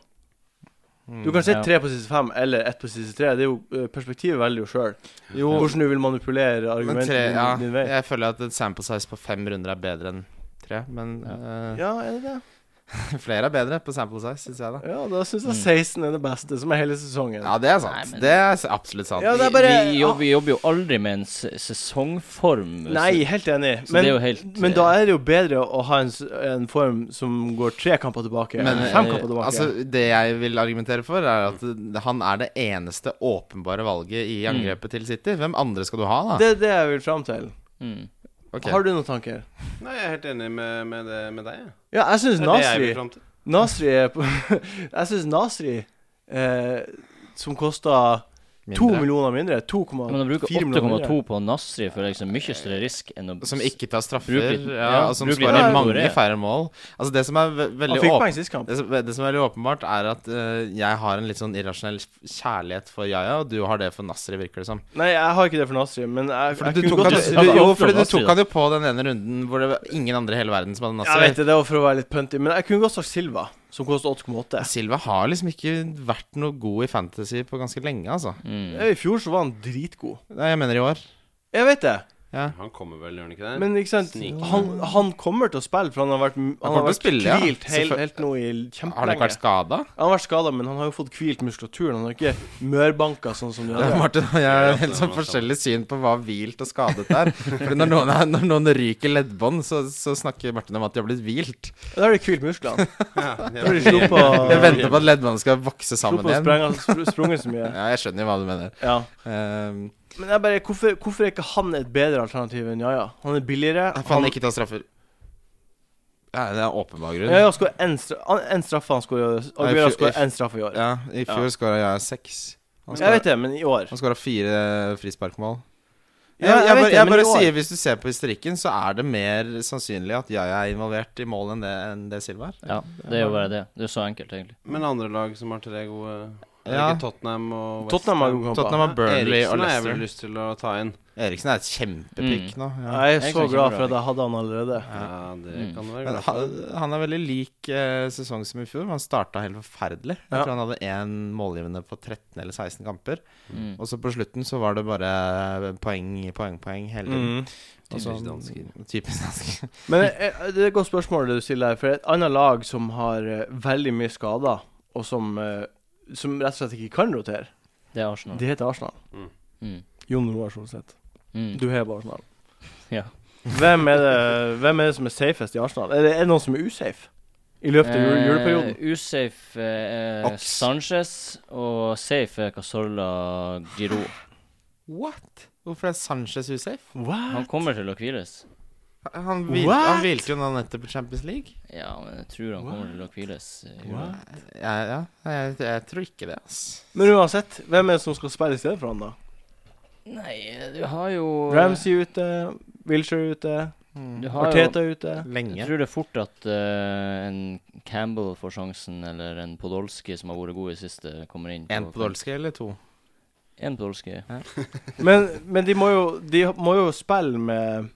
Speaker 2: Mm.
Speaker 1: Du kan si
Speaker 3: Mm, Ja.
Speaker 1: tre på de siste fem, eller ett på de siste tre. Det er jo eh, Perspektivet velger jo sjøl
Speaker 2: Jo,
Speaker 1: hvordan du vil manipulere
Speaker 2: men
Speaker 1: argumentet
Speaker 2: tre
Speaker 1: din,
Speaker 2: Ja,
Speaker 1: din vei.
Speaker 2: jeg føler at en sample size på fem runder er bedre enn tre. Men eh,
Speaker 1: Ja, er det det?
Speaker 2: flere er bedre på sample size, syns jeg, da.
Speaker 1: Ja, da syns jeg
Speaker 3: Mm.
Speaker 1: 16 er det beste, som er hele sesongen.
Speaker 2: Ja, det er sant.
Speaker 3: Nei, men-
Speaker 2: Det er absolutt sant.
Speaker 1: Ja, det er
Speaker 3: Vi,
Speaker 1: bare-
Speaker 3: vi, jobber, vi jobber jo aldri med en se- sesongform. så-
Speaker 1: Nei, helt enig,
Speaker 3: Så
Speaker 1: men,
Speaker 3: det er jo helt,
Speaker 1: men da
Speaker 3: eh,
Speaker 1: er det jo bedre å ha en, s- en form som går tre kamper tilbake,
Speaker 2: Men,
Speaker 1: enn fem
Speaker 3: eh,
Speaker 1: kamper tilbake.
Speaker 2: Altså, det jeg vil argumentere for, er at han er det eneste åpenbare valget i angrepet til City. Hvem andre skal du ha, da?
Speaker 3: Ah.
Speaker 1: Mm. det er det jeg vil fram til.
Speaker 3: Mm.
Speaker 2: Ok.
Speaker 1: Har du noen tanker?
Speaker 4: Nei, jeg er helt enig med, med, det, med deg. jeg.
Speaker 1: Ja, jeg syns
Speaker 4: Det er det jeg
Speaker 1: Nasri
Speaker 4: vil fram til.
Speaker 1: Nasri er på Jeg syns Nasri, eh, som kosta
Speaker 2: Mindre.
Speaker 1: to millioner mindre
Speaker 3: Men å
Speaker 1: 2,4
Speaker 3: bruke
Speaker 1: millioner
Speaker 3: 8,2 på Nasri for liksom mye større risk enn å
Speaker 2: Som ikke tar straffer,
Speaker 3: Bruk litt-
Speaker 2: ja,
Speaker 3: ja,
Speaker 2: og som
Speaker 3: bruk litt
Speaker 2: skårer
Speaker 1: mer
Speaker 2: mange
Speaker 3: Korea.
Speaker 2: færre mål. Altså, det som er ve
Speaker 1: Han
Speaker 2: veldig
Speaker 1: fikk
Speaker 2: åp-
Speaker 1: poeng sist kamp.
Speaker 2: det som, det som er veldig åpenbart, er at eh, jeg har en litt sånn irrasjonell kjærlighet for Yaya, og du har det for Nasri, virker det som.
Speaker 1: Nei, jeg har ikke det for Nasri, men jeg,
Speaker 2: Fordi
Speaker 1: jeg
Speaker 2: du
Speaker 1: kunne
Speaker 2: tok,
Speaker 1: godt
Speaker 2: han,
Speaker 1: ha-
Speaker 2: du, jo,
Speaker 3: ofte
Speaker 2: fordi du
Speaker 3: Nasri,
Speaker 2: tok
Speaker 3: da.
Speaker 2: han jo på den ene runden hvor det var ingen andre i hele verden som
Speaker 1: Jeg
Speaker 2: hadde
Speaker 1: vet
Speaker 2: Nasri.
Speaker 1: det, det var for å være litt punty, men jeg kunne godt sagt Silva, som koster 8,8.
Speaker 2: Silva har liksom ikke vært noe god i fantasy på ganske lenge, altså.
Speaker 3: mm.
Speaker 1: Eh, I fjor så var han dritgod.
Speaker 2: Nei, jeg mener i år.
Speaker 1: Jeg vet det,
Speaker 2: Ja.
Speaker 4: Han kommer vel, gjør han ikke det?
Speaker 1: men ikke sant
Speaker 4: Sniker.
Speaker 1: han, han kommer til å spille, for han har vært, han
Speaker 2: kommer
Speaker 1: har
Speaker 2: til å
Speaker 1: vært
Speaker 2: spille, ja.
Speaker 1: hvilt helt,
Speaker 2: Selvføl-
Speaker 1: helt nå i
Speaker 2: Har han ikke
Speaker 1: kjempelenge.
Speaker 2: vært skada?
Speaker 1: Han har vært skada, men han har jo fått hvilt muskulaturen. Han har ikke mørbanka sånn som de andre.
Speaker 2: Martin og jeg har helt sånn forskjellig
Speaker 1: altså.
Speaker 2: syn på hva hvilt og skadet er. Fordi når noen, er, når noen ryker leddbånd, så, så snakker Martin om at de har blitt hvilt.
Speaker 1: Da har de hvilt musklene.
Speaker 4: Ja, det
Speaker 1: Når de slo på,
Speaker 2: Jeg venter på at leddbåndet skal vokse
Speaker 1: slo
Speaker 2: sammen
Speaker 1: på
Speaker 2: igjen.
Speaker 1: sprenga, spr- sprunget så mye.
Speaker 2: Ja, jeg skjønner jo hva du mener.
Speaker 1: Ja.
Speaker 2: Ehm,
Speaker 1: Men jeg bare, hvorfor, hvorfor er ikke han et bedre alternativ enn Jaja? Han er billigere.
Speaker 2: for han ikke tar straffer. Ja, det er åpenbar grunn.
Speaker 1: Jaja skårer én straffe. Han skårer Aguera
Speaker 2: Nei, i fjor-
Speaker 1: skårer én straffe i år.
Speaker 2: Ja, I fjor skåra jeg seks. Han
Speaker 1: Jeg
Speaker 2: skåra-
Speaker 1: vet det, men i år
Speaker 2: han skåra fire frisparkmål.
Speaker 1: Ja,
Speaker 2: Jeg, jeg,
Speaker 1: jeg vet
Speaker 2: bare,
Speaker 1: det,
Speaker 2: jeg
Speaker 1: men i
Speaker 2: bare
Speaker 1: år-
Speaker 2: sier, Hvis du ser på historikken, så er det mer sannsynlig at jeg er involvert i mål enn det, enn det Silva er.
Speaker 3: Ja, det er jo bare det. Det er så enkelt, egentlig.
Speaker 4: Men andre lag som har tre gode er det
Speaker 2: Ja.
Speaker 4: ikke Tottenham og West
Speaker 1: Tottenham har
Speaker 4: Ham?
Speaker 1: gode kamper.
Speaker 2: Tottenham har Burnley og
Speaker 4: Eriksen har jeg vel
Speaker 2: Leicester.
Speaker 4: lyst til å ta inn.
Speaker 2: Eriksen er et kjempepick nå.
Speaker 1: Mm.
Speaker 2: Ja.
Speaker 1: Jeg er
Speaker 3: Jeg
Speaker 1: så
Speaker 3: kan
Speaker 1: glad
Speaker 3: ikke
Speaker 1: for at jeg hadde han allerede.
Speaker 4: Ja, det
Speaker 3: Mm.
Speaker 4: kan du være
Speaker 2: Men altså,
Speaker 4: glad
Speaker 2: han,
Speaker 4: for.
Speaker 2: han er veldig lik eh, sesong som i fjor. hvor Han starta helt forferdelig. Jeg
Speaker 1: Ja.
Speaker 2: tror han hadde én målgivende på 13 eller 16 kamper.
Speaker 3: Mm.
Speaker 2: Og så på slutten så var det bare poeng, poeng, poeng hele
Speaker 1: Mm.
Speaker 2: tiden. Og så-
Speaker 4: Typisk dansker.
Speaker 2: Typisk dansker.
Speaker 1: Men eh, det er et godt spørsmål det du stiller her, for et annet lag som har eh, veldig mye skader, og som, eh, som rett og slett ikke kan rotere,
Speaker 3: Det er Arsenal.
Speaker 1: det heter Arsenal.
Speaker 3: Mm.
Speaker 1: Jon Roar Solseth.
Speaker 3: Mm.
Speaker 1: Du heier på Arsenal.
Speaker 3: Ja.
Speaker 1: Hvem er, det, hvem er det som er safest i Arsenal? Er det, er det noen som er usafe i løpet av jule- juleperioden?
Speaker 3: Eh, usafe eh,
Speaker 2: Ops.
Speaker 3: Sanchez, og safe er Casolla Giroud.
Speaker 2: What? Hvorfor er Sanchez usafe?
Speaker 1: What?
Speaker 3: Han kommer til å hviles.
Speaker 2: Han, hvil,
Speaker 1: What?
Speaker 2: han hvilte jo nå nettopp i Champions League.
Speaker 3: Ja, men jeg tror han kommer til å hviles. eh, i jula.
Speaker 2: Ja, ja. Jeg, jeg tror ikke det, ass.
Speaker 1: Men uansett, hvem er det som skal spille i stedet for han, da?
Speaker 3: Nei, eh, du har jo
Speaker 1: Ramsey ute, Wilshere ute,
Speaker 3: Du har jo
Speaker 1: Arteta ute.
Speaker 2: Mm. Lenge.
Speaker 3: Jeg tror det er fort at eh, en Campbell får sjansen, eller en Podolski som har vært god i siste, kommer inn.
Speaker 2: Én på Dolske eller to?
Speaker 3: En Podolski.
Speaker 1: Men, men de, må jo, de må jo spille med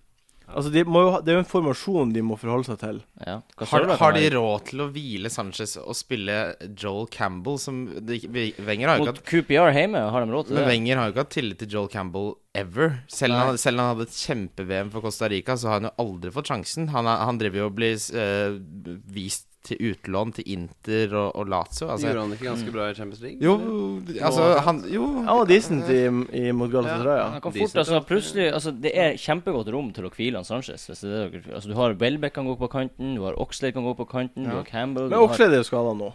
Speaker 1: Altså, de må jo, ha- det er jo en formasjon de må forholde seg til.
Speaker 3: Ja.
Speaker 2: Har,
Speaker 3: Cazorla kan
Speaker 2: har de
Speaker 3: være
Speaker 2: råd til å hvile Sanchez og spille Joel Campbell, som de, vi- Wenger har jo ikke
Speaker 3: Mot
Speaker 2: hatt
Speaker 3: QPR hjemme, har de råd til
Speaker 2: men
Speaker 3: det?
Speaker 2: Wenger har jo ikke hatt tillit til Joel Campbell ever. Selv om han, selv om han hadde et kjempe-VM for Costa Rica, så har han jo aldri fått sjansen. Han, er- han driver jo og blir eh, vist til utlån til Inter og, og Lazio. Altså,
Speaker 4: Gjorde han det ikke ganske bra i Champions League?
Speaker 2: jo, altså han, Jo.
Speaker 1: Han var decent i, i mot Galatasaray.
Speaker 3: Han kan
Speaker 4: Decent,
Speaker 3: fort, altså
Speaker 4: da.
Speaker 3: plutselig altså, Det er kjempegodt rom til å hvile han Sanchez. Hvis det er det dere, altså, du har Welbeck kan gå på kanten, du har Oxlade kan gå på kanten, du
Speaker 2: Ja.
Speaker 3: har Campbell
Speaker 1: Men
Speaker 3: du har,
Speaker 1: Oxlade er jo skada nå.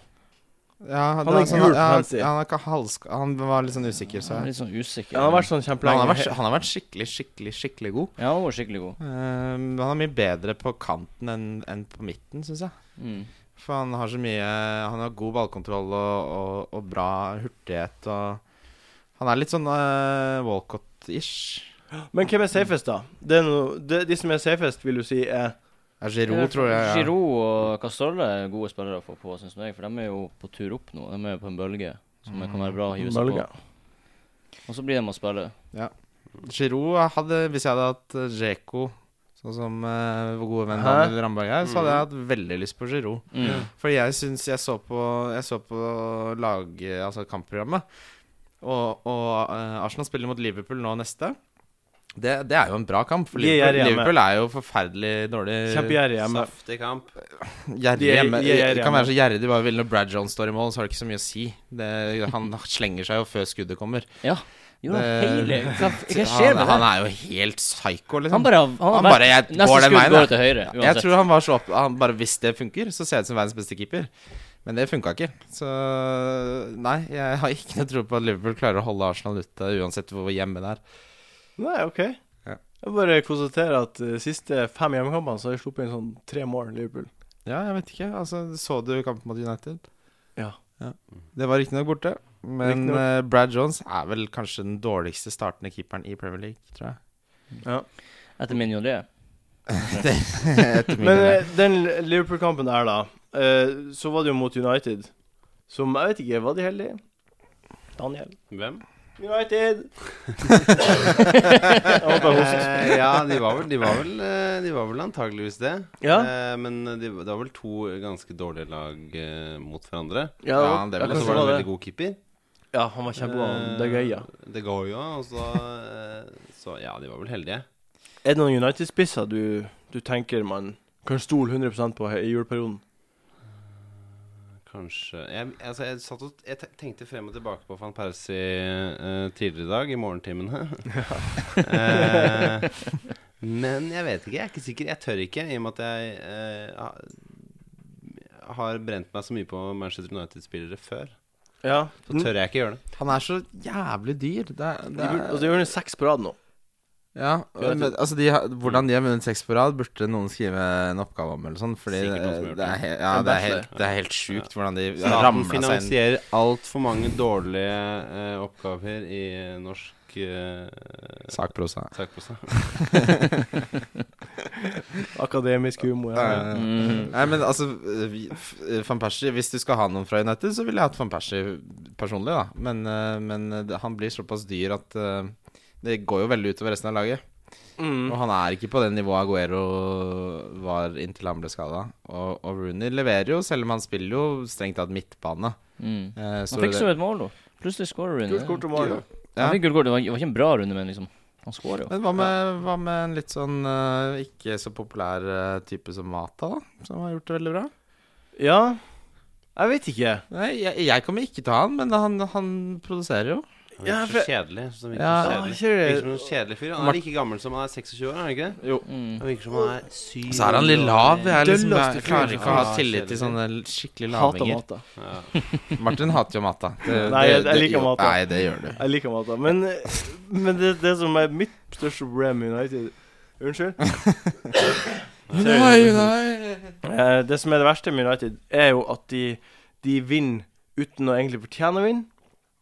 Speaker 2: Ja,
Speaker 1: er
Speaker 2: da-
Speaker 1: ikke gul på
Speaker 2: ja,
Speaker 1: fancy.
Speaker 2: Han, er ikke halsk... Han var litt sånn usikker, så
Speaker 3: Jeg er Litt sånn usikker.
Speaker 1: Han har vært sånn
Speaker 2: Men han har, vært,
Speaker 1: kjempelenge.
Speaker 2: han har vært skikkelig, skikkelig, skikkelig god.
Speaker 3: Ja, han var skikkelig god.
Speaker 2: Ehm, han er mye bedre på kanten enn enn på midten, syns jeg.
Speaker 3: Mm.
Speaker 2: For han har så mye Han har god ballkontroll og, og, og bra hurtighet og Han er litt sånn eh, Walcott-ish.
Speaker 1: Men hvem er safest, da? Det er noe, det, de som er safest, vil du si er
Speaker 2: Ja, Giroud, tror jeg. Ja.
Speaker 3: Giroud og Castolle er gode spillere å få på, syns jeg. For de er jo på tur opp nå. De er jo på en bølge som kan være bra å hive seg på.
Speaker 1: Bølge.
Speaker 3: Og så blir de å spille.
Speaker 2: Giroud hadde Hvis jeg hadde hatt eh, Dzeko Sånn som eh, vår gode venn
Speaker 1: Hæ? Mm.
Speaker 2: Daniel Ramberg er, så hadde jeg hatt veldig lyst på Giroud.
Speaker 3: Mm.
Speaker 2: For jeg syns jeg så på Jeg så på lag, altså kampprogrammet. Og, og eh, Arsenal spiller mot Liverpool nå neste. Det, det er jo en bra kamp, for
Speaker 1: De er
Speaker 2: Liverpool,
Speaker 1: gjerrige hjemme.
Speaker 2: Liverpool er jo forferdelig dårlig.
Speaker 1: Kjempegjerrig hjemme.
Speaker 4: Saftig kamp.
Speaker 1: De er-
Speaker 2: Gjerrig hjemme.
Speaker 1: de er gjerrige
Speaker 2: Det kan
Speaker 1: hjemme.
Speaker 2: være så gjerrig de bare vil når Brad Jones står i mål, så har det ikke så mye å si. Det, han slenger seg jo før skuddet kommer.
Speaker 3: Ja. Gjorde han hele
Speaker 2: Det-
Speaker 3: Hva f- hva skjer
Speaker 2: Han,
Speaker 3: med
Speaker 2: han
Speaker 3: det?
Speaker 2: er jo helt psycho, liksom.
Speaker 3: Han bare Han,
Speaker 2: han
Speaker 3: har
Speaker 2: bare, jeg
Speaker 3: vært- Neste
Speaker 2: går den veien, jeg.
Speaker 3: skudd går til høyre,
Speaker 2: Jeg
Speaker 3: uansett.
Speaker 2: tror han var så opp Han bare Hvis det funker, så ser jeg ut som verdens beste keeper. Men det funka ikke. Så nei, jeg har ikke noe tro på at Liverpool klarer å holde Arsenal ute, uansett hvor hjemme det er.
Speaker 1: Nei, OK.
Speaker 2: Ja.
Speaker 1: Jeg bare konstaterer at de siste fem hjemmekampene så har de sluppet inn sånn tre mål, Liverpool.
Speaker 2: Ja, jeg vet ikke. Altså, så du kampen mot United?
Speaker 1: Ja.
Speaker 2: Det var riktignok borte. Men
Speaker 1: Riktignok.
Speaker 2: eh, Brad Jones er vel kanskje den dårligste startende keeperen i Premier League, tror jeg.
Speaker 3: Etter min og det.
Speaker 2: Etter min
Speaker 1: Men
Speaker 2: idé.
Speaker 1: eh, den Liverpool-kampen der, da, eh, så var det jo mot United. Som jeg vet ikke, var de heldige? Daniel.
Speaker 4: Hvem?
Speaker 1: United! jeg måtte hoste.
Speaker 4: Eh, ja, de var vel, de var vel, eh, de var vel antageligvis det.
Speaker 1: Ja.
Speaker 4: Eh, men de, det var vel to ganske dårlige lag eh, mot hverandre.
Speaker 1: Ja,
Speaker 2: Ja, det er vel-
Speaker 4: Og
Speaker 1: kanskje
Speaker 4: så var det en veldig god keeper.
Speaker 1: Ja, han var kjempegod. han. Det er gøy, ja.
Speaker 4: Eh, Det går jo, og så, eh, så Ja, de var vel heldige.
Speaker 1: Er det noen United-spisser du, du tenker man kan stole 100 på he- i juleperioden?
Speaker 4: Kanskje Jeg, altså, jeg, satt og, jeg te- tenkte frem og tilbake på van Persie eh, tidligere i dag, i morgentimene. Eh, men jeg vet ikke. Jeg er ikke sikker. Jeg tør ikke, i og med at jeg eh, ha- har brent meg så mye på Manchester United-spillere før.
Speaker 1: Ja.
Speaker 4: Så tør jeg ikke gjøre det.
Speaker 2: Han er så jævlig dyr. Det, er-
Speaker 1: De
Speaker 2: det
Speaker 1: burde-
Speaker 2: er
Speaker 1: altså, de gjør det seks på rad nå.
Speaker 2: Ja,
Speaker 1: Ja,
Speaker 2: men altså de, har- Hvordan de har vunnet seks på rad, burde noen skrive en oppgave om. eller sånn Fordi
Speaker 4: Sikkert noen som har
Speaker 2: det,
Speaker 4: gjort
Speaker 2: det, er,
Speaker 4: det.
Speaker 2: he ja,
Speaker 1: En
Speaker 2: det, er
Speaker 1: bachelor.
Speaker 2: helt, det er helt sjukt hvordan de
Speaker 4: Staten
Speaker 2: ramla seg inn.
Speaker 4: finansierer altfor mange dårlige eh, oppgaver i norsk uh,
Speaker 2: Sakprosa.
Speaker 4: sakpose.
Speaker 1: Akademisk humor. Ja.
Speaker 2: Eh,
Speaker 3: Mm.
Speaker 2: Nei, men altså vi- f- eh, Van Persie Hvis du skal ha noen fra United, så ville jeg hatt Van Persie personlig, da. Men, eh, men det- han blir såpass dyr at eh, det går jo veldig utover resten av laget.
Speaker 1: Mm.
Speaker 2: Og han er ikke på det nivået Aguero var inntil han ble skada. Og, og Rooney leverer jo, selv om han spiller jo strengt tatt midtbane.
Speaker 3: Mm.
Speaker 2: Eh,
Speaker 3: Han
Speaker 2: store
Speaker 3: fikk så et mål, da. Plutselig skårer Rune.
Speaker 1: Gult kort og mål.
Speaker 2: Ja.
Speaker 3: Han fikk gult kort. Det var, det var ikke en bra runde, men liksom Han skårer jo.
Speaker 2: Men hva med, hva med en litt sånn eh, ikke så populær eh, type som Mata, da? Som har gjort det veldig bra?
Speaker 1: Ja. Jeg vet ikke.
Speaker 2: Nei, jeg, jeg kommer ikke til å ha han, men han, han produserer jo.
Speaker 4: Han
Speaker 1: Ja,
Speaker 4: virker så kjedelig. Som virker
Speaker 2: Ja,
Speaker 4: så kjedelig.
Speaker 2: ikke det.
Speaker 4: Virker som en kjedelig fyr. Han
Speaker 2: Mart-
Speaker 4: er like gammel som han er 26 år, er han ikke det?
Speaker 1: Jo.
Speaker 3: Mm.
Speaker 4: Han virker som han er syv
Speaker 2: Så er han litt lav. Jeg, er liksom,
Speaker 1: Dølleste
Speaker 2: jeg
Speaker 1: fyr,
Speaker 2: klarer ikke å ha
Speaker 4: ja.
Speaker 2: tillit til sånne skikkelig
Speaker 1: Hater
Speaker 2: lavinger.
Speaker 1: matta.
Speaker 4: Ja.
Speaker 2: Martin hater jo matta.
Speaker 1: Nei,
Speaker 2: Det- det-
Speaker 1: jeg- jeg
Speaker 2: det-
Speaker 1: liker
Speaker 2: jo,
Speaker 1: matta.
Speaker 2: Nei, det gjør du.
Speaker 1: Jeg liker matta. Men, men det, det som er mitt største problem med United Unnskyld?
Speaker 2: Nei, nei.
Speaker 1: Eh, det som er det verste med United, er jo at de, de vinner uten å egentlig fortjene å vinne.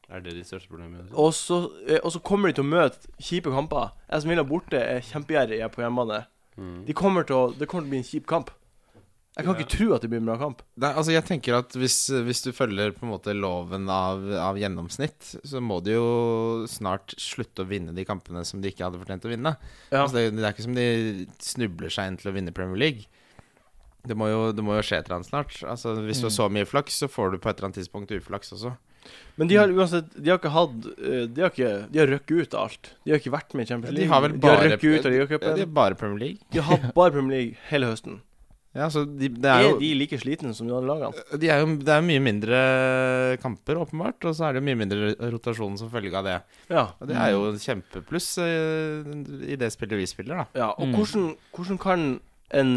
Speaker 4: Er det de største problemene?
Speaker 1: Og så, eh, og så kommer de til å møte kjipe kamper. Jeg som vil ha borte, er kjempegjerrig jeg er på hjemmebane.
Speaker 4: Mm.
Speaker 1: De kommer til å, det kommer til å bli en kjip kamp. Jeg kan
Speaker 4: Ja.
Speaker 1: ikke tro at det blir en bra kamp.
Speaker 2: Nei, altså jeg tenker at hvis, hvis du følger på en måte loven av, av gjennomsnitt, så må du jo snart slutte å vinne de kampene som de ikke hadde fortjent å vinne.
Speaker 1: Ja.
Speaker 2: Altså det, det er ikke som de snubler seg inn til å vinne Premier League. Det må jo, det må jo skje et eller annet snart. Altså Hvis du har så mye flaks, så får du på et eller annet tidspunkt uflaks også.
Speaker 1: Men de har uansett De har ikke hatt eh, De har ikke De har røkket ut av alt. De har ikke vært med i
Speaker 2: Ja,
Speaker 1: Champions
Speaker 2: de
Speaker 1: League.
Speaker 2: har vel
Speaker 1: de
Speaker 2: bare,
Speaker 1: har røkket ut av
Speaker 2: ja, de
Speaker 1: Ligacupen.
Speaker 2: har bare Premier League.
Speaker 1: De har hatt bare Premier League hele høsten.
Speaker 2: Ja, så de, det
Speaker 1: Er,
Speaker 2: er jo
Speaker 1: de like slitne som de andre lagene?
Speaker 2: de er jo, det er jo mye mindre kamper, åpenbart, og så er det jo mye mindre rotasjon som følge av det.
Speaker 1: Ja.
Speaker 2: Og det er jo en kjempepluss eh, i det spillet vi spiller, da.
Speaker 1: ja. Og
Speaker 3: Mm.
Speaker 1: hvordan, hvordan kan en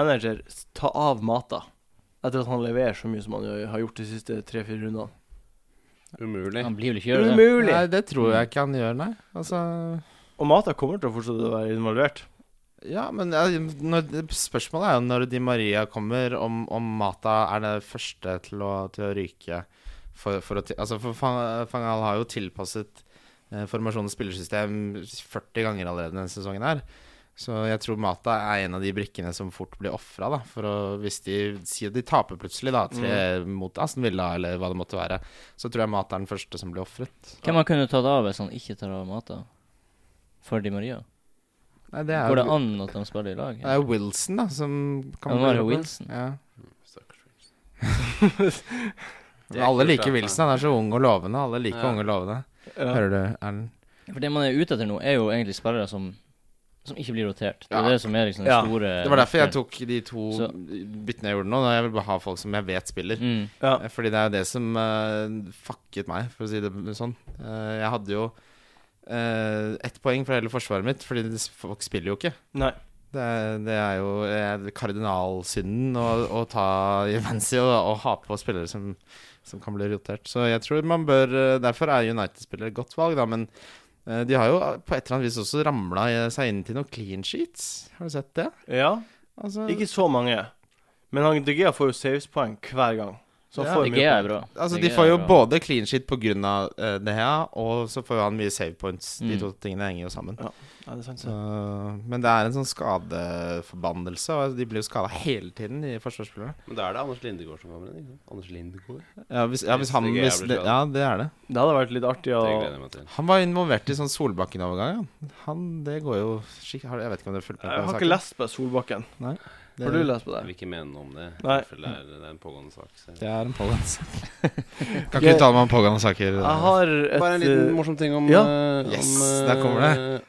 Speaker 1: manager ta av Mata etter at han leverer så mye som han jo har gjort de siste tre-fire rundene?
Speaker 4: Umulig.
Speaker 3: Han blir vel ikke gjøre det.
Speaker 1: Umulig!
Speaker 2: Nei, det tror jeg ikke han gjør, nei. Altså
Speaker 1: Og Mata kommer til å fortsette å være involvert.
Speaker 2: Ja, men ja, når, spørsmålet er jo når Di Maria kommer, om, om Mata er det første til å, til å ryke. For, for å, ti- altså, for Fang- Fangal har jo tilpasset eh, formasjonens spillersystem 40 ganger allerede denne sesongen her. Så jeg tror Mata er en av de brikkene som fort blir ofra, da. For å, hvis de sier de taper plutselig, da, tre mot Aston Villa, eller hva det måtte være, så tror jeg Mata er den første som blir ofret.
Speaker 3: Hvem han kunne tatt av hvis han ikke tar av Mata? For Di Maria?
Speaker 2: Nei, det er
Speaker 3: Går det
Speaker 2: jo
Speaker 3: an at de spiller i lag?
Speaker 2: det er jo Wilson, da, som
Speaker 3: Ja, nå er det Wilson.
Speaker 2: Ja.
Speaker 4: Stakkars. Det er
Speaker 2: Alle
Speaker 4: kult,
Speaker 2: liker
Speaker 4: da.
Speaker 2: Wilson. Han er så ung og lovende. Alle liker
Speaker 4: Ja.
Speaker 2: unge og lovende.
Speaker 1: Ja.
Speaker 2: Hører du, Erlend?
Speaker 3: For det man er ute etter nå, er jo egentlig spillere som Som ikke blir rotert. Det er
Speaker 2: Ja.
Speaker 3: det som er liksom den
Speaker 1: Ja.
Speaker 3: store
Speaker 2: Det var derfor jeg tok de to
Speaker 3: Så-
Speaker 2: byttene jeg gjorde nå. da Jeg vil bare ha folk som jeg vet spiller.
Speaker 3: mm.
Speaker 1: Ja.
Speaker 2: Eh, Fordi det er jo det som eh, fucket meg, for å si det sånn. Eh, jeg hadde jo uh, ett poeng fra hele forsvaret mitt, fordi det- folk spiller jo ikke.
Speaker 1: Nei.
Speaker 2: Det er, det er jo eh, kardinalsynden å, å ta Juvency og, og ha på spillere som, som kan bli rotert. Så jeg tror man bør eh, Derfor er United-spillere et godt valg, da. Men eh, de har jo eh, på et eller annet vis også ramla seg inn til noen clean sheets. Har du sett det?
Speaker 1: ja.
Speaker 2: Altså,
Speaker 1: Ikke så mange. Men han De Gea får jo savespoeng hver gang. Så han
Speaker 2: Ja.
Speaker 1: får
Speaker 3: Det
Speaker 1: jo
Speaker 3: G
Speaker 1: mye
Speaker 3: er bra.
Speaker 2: altså
Speaker 3: Det
Speaker 2: De
Speaker 3: G
Speaker 2: får
Speaker 3: er
Speaker 2: jo
Speaker 3: bra.
Speaker 2: både clean sheet pga. Uh, det her, og så får jo han mye save points.
Speaker 3: Mm.
Speaker 2: De to tingene henger jo sammen.
Speaker 1: Ja, det er sant.
Speaker 2: Så, men det er en sånn skadeforbannelse, og de blir jo skada hele tiden, de forsvarsspillerne.
Speaker 4: Men da er det Anders Lindegård som kommer inn. ikke sant? Anders Lindegård.
Speaker 2: Ja, hvis, ja,
Speaker 4: Hvis
Speaker 2: hvis han
Speaker 4: det er
Speaker 2: hvis
Speaker 4: jævlig
Speaker 2: det,
Speaker 4: skadet.
Speaker 2: Ja, det er det.
Speaker 1: Det hadde vært litt artig å
Speaker 4: Det gleder jeg meg til.
Speaker 2: Han var involvert i sånn Solbakken-overgang. ja. Han, det går jo skikk... har- Jeg vet ikke om dere har fulgt med på
Speaker 1: Jeg
Speaker 2: den
Speaker 1: har
Speaker 2: saken?
Speaker 1: ikke lest på Solbakken.
Speaker 2: Det-
Speaker 1: Har du lest på det?
Speaker 4: Jeg vil ikke mene noe om det.
Speaker 1: Nei.
Speaker 4: Jeg føler Det er, det er en pågående sak. Så.
Speaker 2: Det er en pågående sak. kan ikke
Speaker 1: Jeg-
Speaker 2: uttale meg om pågående saker.
Speaker 1: Jeg har
Speaker 4: Bare en
Speaker 1: et
Speaker 4: liten
Speaker 1: eh,
Speaker 4: morsom ting om
Speaker 1: ja.
Speaker 4: eh, om,
Speaker 2: Yes,
Speaker 4: eh,
Speaker 2: der kommer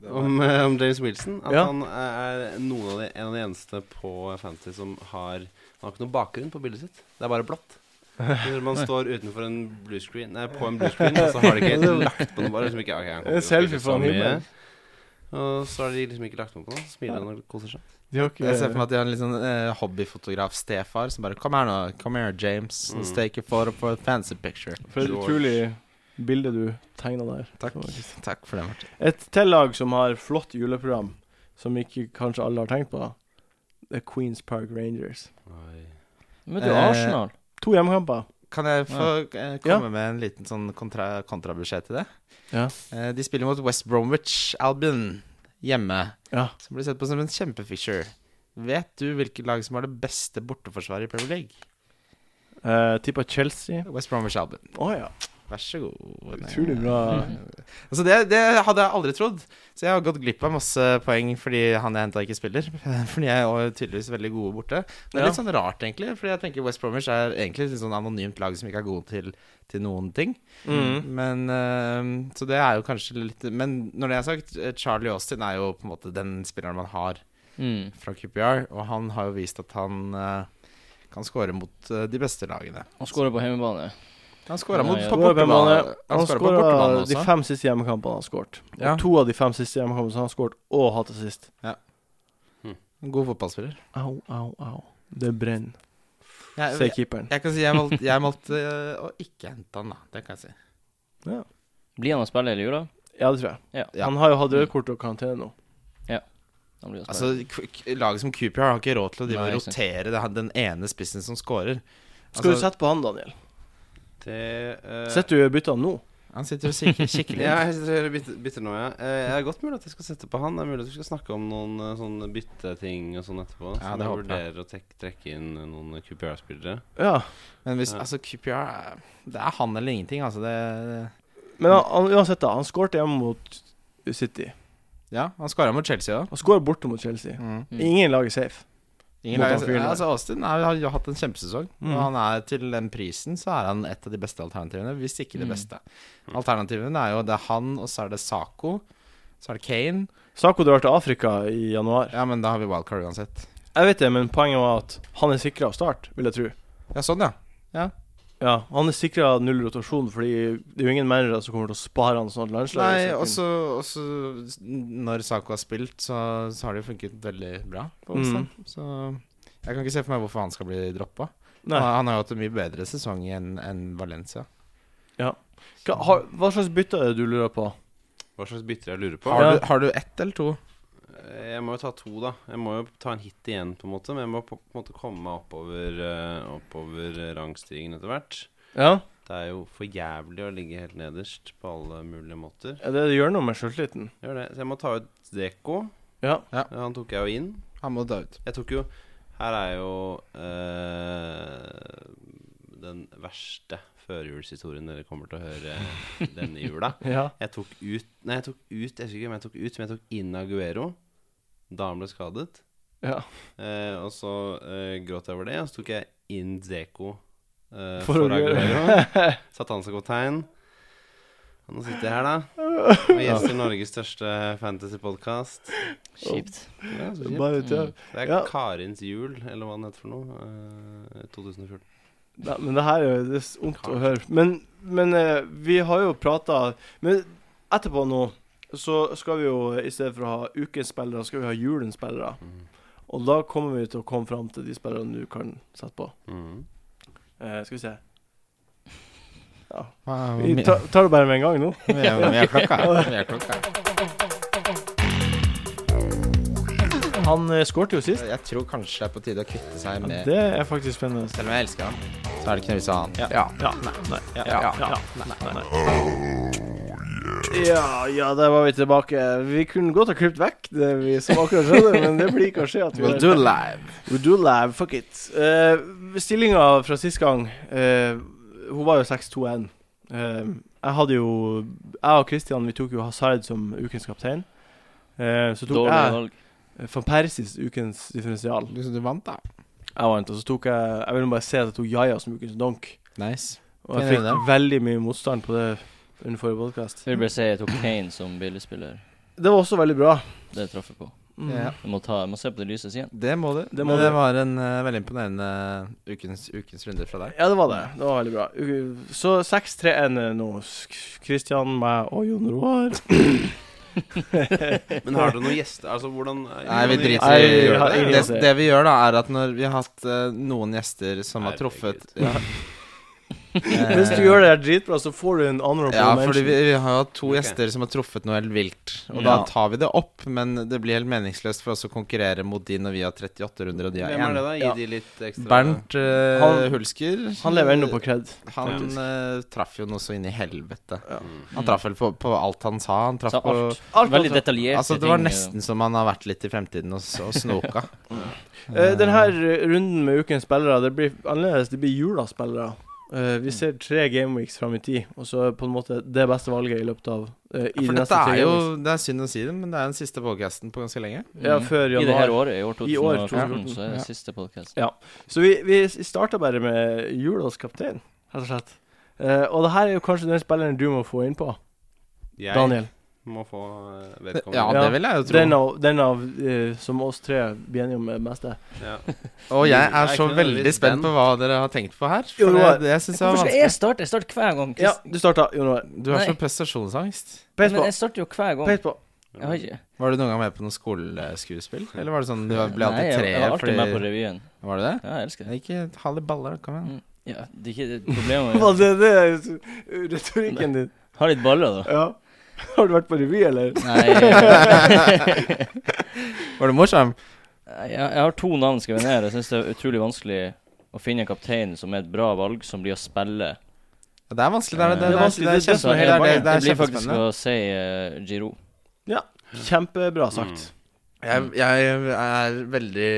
Speaker 4: Om, eh, om James Wilson. At
Speaker 1: Ja.
Speaker 4: han eh, er noen av de, en av de eneste på Fantasy som har Han har ikke noen bakgrunn på bildet sitt. Det er bare blått. Når man står utenfor en blue screen Nei, på en blue screen, og så har de ikke lagt på noe. Bare liksom ikke ok, han kommer til å
Speaker 1: En selfie
Speaker 4: spille
Speaker 1: fra
Speaker 4: så
Speaker 1: en
Speaker 4: mye.
Speaker 1: himmel.
Speaker 4: Og så har de liksom ikke lagt noe på noe. Så smiler han og koser seg.
Speaker 1: De har ikke
Speaker 2: Jeg ser for meg at de har en litt sånn eh, hobbyfotograf-stefar som bare Kom her nå, come here, James. Let's
Speaker 4: Mm.
Speaker 2: take a photo for a fancy picture.
Speaker 1: For et utrolig bilde du tegna der.
Speaker 2: Takk. Takk for det, Martin.
Speaker 1: Et tillag som har flott juleprogram, som ikke kanskje alle har tenkt på, det er Queens Park Rangers.
Speaker 4: Oi.
Speaker 3: Men det er
Speaker 2: Eh,
Speaker 3: jo Arsenal.
Speaker 1: To hjemmekamper.
Speaker 2: Kan jeg få eh,
Speaker 1: Ja.
Speaker 2: komme med en liten sånn kontra, kontrabeskjed til det?
Speaker 1: Ja.
Speaker 2: Eh, de spiller mot West Bromwich Albion hjemme.
Speaker 1: Ja.
Speaker 2: Som blir sett på som en kjempefixture. Vet du hvilket lag som har det beste borteforsvaret i Premier League?
Speaker 1: Uh, Tippa Chelsea.
Speaker 2: West Bromwich Albion.
Speaker 1: Å ja.
Speaker 2: Vær så god.
Speaker 1: Utrolig bra.
Speaker 2: Altså det, det hadde jeg aldri trodd. Så jeg har gått glipp av masse poeng fordi han jeg henta, ikke spiller. Fordi jeg er jo tydeligvis veldig gode borte. Det er litt
Speaker 1: Ja.
Speaker 2: sånn rart, egentlig. Fordi jeg tenker West Bromwich er egentlig et litt sånn anonymt lag som ikke er gode til, til noen ting.
Speaker 1: Mm.
Speaker 2: Men eh, Så det er jo kanskje litt Men når det er sagt, eh, Charlie Austin er jo på en måte den spilleren man har
Speaker 3: Mm.
Speaker 2: fra QPR, og han har jo vist at han eh, kan skåre mot eh, de beste lagene.
Speaker 3: Han skårer på hjemmebane.
Speaker 2: Han skåra mot
Speaker 3: Nei,
Speaker 2: på
Speaker 1: Skåret på
Speaker 2: bortebane.
Speaker 1: hjemmebane.
Speaker 2: Han
Speaker 1: Han
Speaker 2: skåra på bortebane
Speaker 1: skåra de
Speaker 2: også.
Speaker 1: fem siste hjemmekampene han har skåret. Og
Speaker 2: Ja.
Speaker 1: To av de fem siste hjemmekampene som han har skåret, og hatt til sist.
Speaker 2: En God fotballspiller.
Speaker 1: Au, au, au. Det brenner,
Speaker 2: Jeg,
Speaker 1: sier
Speaker 2: jeg,
Speaker 1: keeperen.
Speaker 2: jeg kan si jeg valgte, jeg valgte øh, å ikke hente han, da. Det kan jeg si.
Speaker 3: Blir han å spille hele jula?
Speaker 1: Ja, Mm. det tror jeg.
Speaker 3: Ja.
Speaker 2: Ja.
Speaker 1: Han har jo hatt rødt kort og karantene nå.
Speaker 3: Han blir å
Speaker 2: Altså,
Speaker 3: spille.
Speaker 2: k- k- Laget som Cooper har ikke råd til å drive
Speaker 3: Nei,
Speaker 2: og
Speaker 3: ikke sant.
Speaker 2: rotere det, den ene spissen som scorer.
Speaker 1: Skal du
Speaker 2: Altså,
Speaker 1: sette på han, Daniel?
Speaker 4: Det eh,
Speaker 1: Sitter du i bytta nå?
Speaker 2: Han sitter og kikker, kikker litt.
Speaker 4: Ja, jeg sitter og bytter, bytter nå, ja. Eh, Det er godt mulig at jeg skal sette på han. Det er mulig at vi skal snakke om noen eh, sånne bytteting og sånn etterpå.
Speaker 2: Ja,
Speaker 4: så
Speaker 2: det
Speaker 4: jeg
Speaker 2: håper jeg.
Speaker 4: vurderer å tek trekke inn eh, noen QPR-spillere.
Speaker 1: Ja.
Speaker 2: Men hvis,
Speaker 4: Ja.
Speaker 2: altså, QPR er- Det er han eller ingenting, altså. Det,
Speaker 1: Men han, han, uansett, da. Han skåret hjemme mot City.
Speaker 2: ja, han skåra mot Chelsea òg.
Speaker 1: Han skårer borte mot Chelsea.
Speaker 2: Mm.
Speaker 3: Mm.
Speaker 1: Ingen lag er safe.
Speaker 2: Ingen
Speaker 1: Mot
Speaker 2: lag-
Speaker 1: han fyren der.
Speaker 2: altså, Austin er, har jo hatt en kjempesesong.
Speaker 1: Mm.
Speaker 2: Og han er til den prisen så er han et av de beste alternativene, hvis ikke det
Speaker 3: Mm.
Speaker 2: beste. Alternativene er jo det er han, og så er det Saco. Så er det Kane.
Speaker 1: Sako drar til Afrika i januar.
Speaker 2: Ja, men da har vi wildcard uansett.
Speaker 1: Jeg vet det, men poenget var at han er sikra av start, vil jeg tro.
Speaker 2: Ja, sånn, ja.
Speaker 1: Ja, han er sikra null rotasjon, fordi det er jo ingen managere som kommer til å spare han sånn at landslaget
Speaker 2: Nei, altså-
Speaker 1: setter inn.
Speaker 2: også, også når Saco har spilt, så, så har det jo funket veldig bra
Speaker 1: Mm.
Speaker 2: på onsdag. Så jeg kan ikke se for meg hvorfor han skal bli droppa. Han,
Speaker 1: Nei.
Speaker 2: han har jo hatt en mye bedre sesong enn enn Valencia.
Speaker 1: Hva, har, hva slags bytte er det du lurer på?
Speaker 4: Hva slags bytter jeg lurer på?
Speaker 2: Har,
Speaker 1: Ja.
Speaker 2: du, har du ett eller to?
Speaker 4: Eh, Jeg må jo ta to, da. Jeg må jo ta en hit igjen, på en måte. Men jeg må på, på en måte komme meg oppover, eh, oppover eh, rangstigen etter hvert.
Speaker 1: Ja,
Speaker 4: Det er jo for jævlig å ligge helt nederst på alle mulige måter.
Speaker 1: er det det gjør noe med sjøltilliten?
Speaker 4: Gjør det. Så jeg må ta ut Deko.
Speaker 1: Ja.
Speaker 4: Eh, Han tok jeg jo inn.
Speaker 2: Han må ta ut.
Speaker 4: Jeg tok jo Her er jo eh, den verste førjulshistorien dere kommer til å høre denne jula.
Speaker 1: ja.
Speaker 4: Jeg tok ut Nei, jeg tok ut Jeg husker ikke hvem jeg tok ut, men jeg tok inn Aguero. Da han ble skadet.
Speaker 1: Ja.
Speaker 4: Eh, og så eh, gråt jeg over det, og så tok jeg inn Zeko eh,
Speaker 1: For
Speaker 4: for,
Speaker 1: Aguero.
Speaker 4: Aguero. Satte han som kaptein. Og Nå sitter jeg her, da. Og gjester Norges største fantasypodkast.
Speaker 3: Kjipt.
Speaker 4: Ja, så kjipt.
Speaker 1: Bare ut, ja.
Speaker 3: Mm.
Speaker 4: Det er
Speaker 1: Ja.
Speaker 4: Karins jul, eller hva den heter for noe. eh, 2014.
Speaker 1: Nei, men det her er jo det er så vondt å høre. Men, men eh, vi har jo prata Men etterpå nå så skal vi jo i stedet for å ha ukens spillere, skal vi ha julens spillere. Og da kommer vi til å komme fram til de spillerne du kan sette på.
Speaker 4: Mhm.
Speaker 1: Eh, skal vi se. Ja.
Speaker 2: Ah,
Speaker 1: Vi
Speaker 2: vi-
Speaker 1: tar, tar det bare med en gang nå.
Speaker 2: vi er- vi er klokka. Vi er klokka.
Speaker 1: Han eh, skårte jo sist.
Speaker 2: Jeg tror kanskje det er på tide å kvitte seg med
Speaker 1: Det er faktisk spennende.
Speaker 2: Selv om jeg elsker han, så er det ikke noe vits i å ha han. Ja.
Speaker 1: Ja, nei, nei, ja,
Speaker 2: Ja.
Speaker 1: ja, ja, nei, nei. Ja, ja, der var vi tilbake. Vi kunne godt ha klippet vekk det vi som akkurat skjedde, men det blir kanskje at vi
Speaker 2: We'll do live.
Speaker 1: We'll do live, fuck it. Uh, Stillinga fra sist gang, eh, hun var jo 6-2-1. Eh, jeg hadde jo Jeg og Christian vi tok jo Hazard som ukens kaptein. Eh, så tok
Speaker 3: Dårlig
Speaker 1: jeg
Speaker 3: valg.
Speaker 1: van Persis ukens differensial.
Speaker 2: Du, du vant, da.
Speaker 1: Jeg vant, og så tok jeg Jeg vil bare si at jeg tok Jaja som ukens donk.
Speaker 2: Nice.
Speaker 1: Og jeg
Speaker 2: Fin
Speaker 1: fikk
Speaker 2: runde.
Speaker 1: veldig mye motstand på det under forrige podkast.
Speaker 3: Jeg vil bare si jeg tok Kane som billigspiller.
Speaker 1: Det var også veldig bra.
Speaker 3: Det traff jeg på.
Speaker 1: Mm.
Speaker 2: Ja.
Speaker 3: Jeg må, ta, jeg må se på det lyset igjen.
Speaker 2: Det må du.
Speaker 1: Det
Speaker 2: Det,
Speaker 1: må du.
Speaker 2: det var en eh, veldig imponerende ukens, ukens runde fra deg.
Speaker 1: Ja, det var det. Det var veldig bra. U- Så 6-3-1 nå. Sk- Christian, meg og Jon Roar.
Speaker 4: Men har dere noen gjester? Altså, hvordan
Speaker 2: Nei, vi driter
Speaker 1: Nei,
Speaker 2: i
Speaker 1: vi har ingen
Speaker 2: det.
Speaker 1: gjester.
Speaker 2: Det vi gjør, da, er at når vi har hatt eh, noen gjester som har truffet ja.
Speaker 1: Hvis du gjør det her dritbra, så får du en honorable
Speaker 2: Eh, Ja, fordi
Speaker 1: mention.
Speaker 2: vi, vi har hatt to
Speaker 4: Ok.
Speaker 2: gjester som har truffet noe helt vilt. Og
Speaker 3: Mm.
Speaker 2: da
Speaker 1: Ja.
Speaker 2: tar vi det opp, men det blir helt meningsløst for oss å konkurrere mot de når vi har 38 runder og de har
Speaker 4: Hvem er det,
Speaker 2: én.
Speaker 4: da? Gi
Speaker 1: Ja.
Speaker 4: de litt ekstra
Speaker 2: Bernt eh,
Speaker 1: Han-
Speaker 2: Hulsker.
Speaker 1: Han lever ennå på cred.
Speaker 2: Han
Speaker 4: Faktisk.
Speaker 2: eh, traff jo noe så inn i helvete.
Speaker 4: Mm.
Speaker 2: Han traff vel på, på alt han sa. Han traff
Speaker 3: Sa
Speaker 2: på
Speaker 3: alt.
Speaker 1: Alt
Speaker 3: Veldig
Speaker 1: alt.
Speaker 3: detaljerte
Speaker 2: Altså, det var
Speaker 3: ting,
Speaker 2: nesten som han har vært litt i fremtiden og, s- og snoka.
Speaker 1: Eh, den her eh, runden med ukens spillere, det blir annerledes. Det blir julas spillere. Eh, vi ser tre gameweeks fram i tid, og så er på en måte det beste valget i løpet av eh, I
Speaker 2: For
Speaker 1: de neste
Speaker 2: dette
Speaker 1: tre
Speaker 2: er jo
Speaker 1: gameweeks.
Speaker 2: Det er synd å si det, men det er den siste podcasten på ganske lenge.
Speaker 3: Mm.
Speaker 1: Ja, før
Speaker 3: I det her
Speaker 1: januar.
Speaker 3: året, i år
Speaker 1: I år
Speaker 3: 2014,
Speaker 1: 2014,
Speaker 3: så er det
Speaker 2: ja.
Speaker 3: siste podcast
Speaker 1: Så vi, vi starta bare med julas kaptein, rett og slett. Eh, og det her er jo kanskje den spilleren du må få inn på,
Speaker 4: Jeg
Speaker 1: Daniel.
Speaker 4: må få eh, vedkommende.
Speaker 2: Ja,
Speaker 1: Ja.
Speaker 2: det vil jeg jo
Speaker 1: Den
Speaker 2: tro.
Speaker 1: av, den av eh, som oss tre blir enige om er mest det.
Speaker 4: Ja.
Speaker 2: Og jeg
Speaker 4: Jeg
Speaker 2: er
Speaker 4: er
Speaker 2: så
Speaker 4: ikke
Speaker 2: veldig
Speaker 4: nødvendigvis
Speaker 2: spent
Speaker 4: den.
Speaker 2: på hva dere har tenkt på her.
Speaker 1: Jo,
Speaker 2: For det,
Speaker 1: Roar.
Speaker 2: det syns jeg
Speaker 3: Hvorfor
Speaker 2: var
Speaker 3: skal
Speaker 2: vanskelig.
Speaker 3: jeg starte? Jeg starter hver gang.
Speaker 1: Ja,
Speaker 3: Chris.
Speaker 1: du starta, Jon Roar.
Speaker 2: Du har
Speaker 3: Nei.
Speaker 2: så prestasjonsangst.
Speaker 1: Peis
Speaker 3: Men
Speaker 1: på.
Speaker 3: jeg starter jo hver gang.
Speaker 1: Peis på.
Speaker 3: Jeg har ikke
Speaker 2: Var du noen gang med på noe skoleskuespill? Eller var det sånn du ble alltid
Speaker 3: Nei, jeg- Jeg var
Speaker 2: treer?
Speaker 3: alltid
Speaker 2: Fordi...
Speaker 3: med på revyen.
Speaker 2: Var det det?
Speaker 3: Ja, jeg elsker det.
Speaker 2: Ikke halv i baller, kom igjen.
Speaker 3: Mm. Ja, det er ikke det problemet
Speaker 1: Hva
Speaker 3: med
Speaker 1: det, det er jo retorikken din.
Speaker 3: Ha litt baller, da.
Speaker 1: Ja. Har du vært på revy, eller?
Speaker 3: Nei, jeg,
Speaker 2: Var du morsom?
Speaker 3: jeg, jeg har to navn skrevet ned. Jeg syns det er utrolig vanskelig å finne en kaptein som er et bra valg, som blir å spille.
Speaker 2: Ja, det er vanskelig. Det er det.
Speaker 3: Det er
Speaker 2: Det,
Speaker 1: vanskelig,
Speaker 2: det,
Speaker 1: det
Speaker 2: er
Speaker 1: er det
Speaker 3: Så
Speaker 1: som er
Speaker 2: kjempe-
Speaker 1: hele
Speaker 2: det,
Speaker 3: jeg,
Speaker 2: er- det
Speaker 3: jeg
Speaker 2: er
Speaker 3: blir faktisk
Speaker 2: kjempespennende.
Speaker 3: å si eh, Giro.
Speaker 1: Kjempebra sagt.
Speaker 2: Jeg, jeg er veldig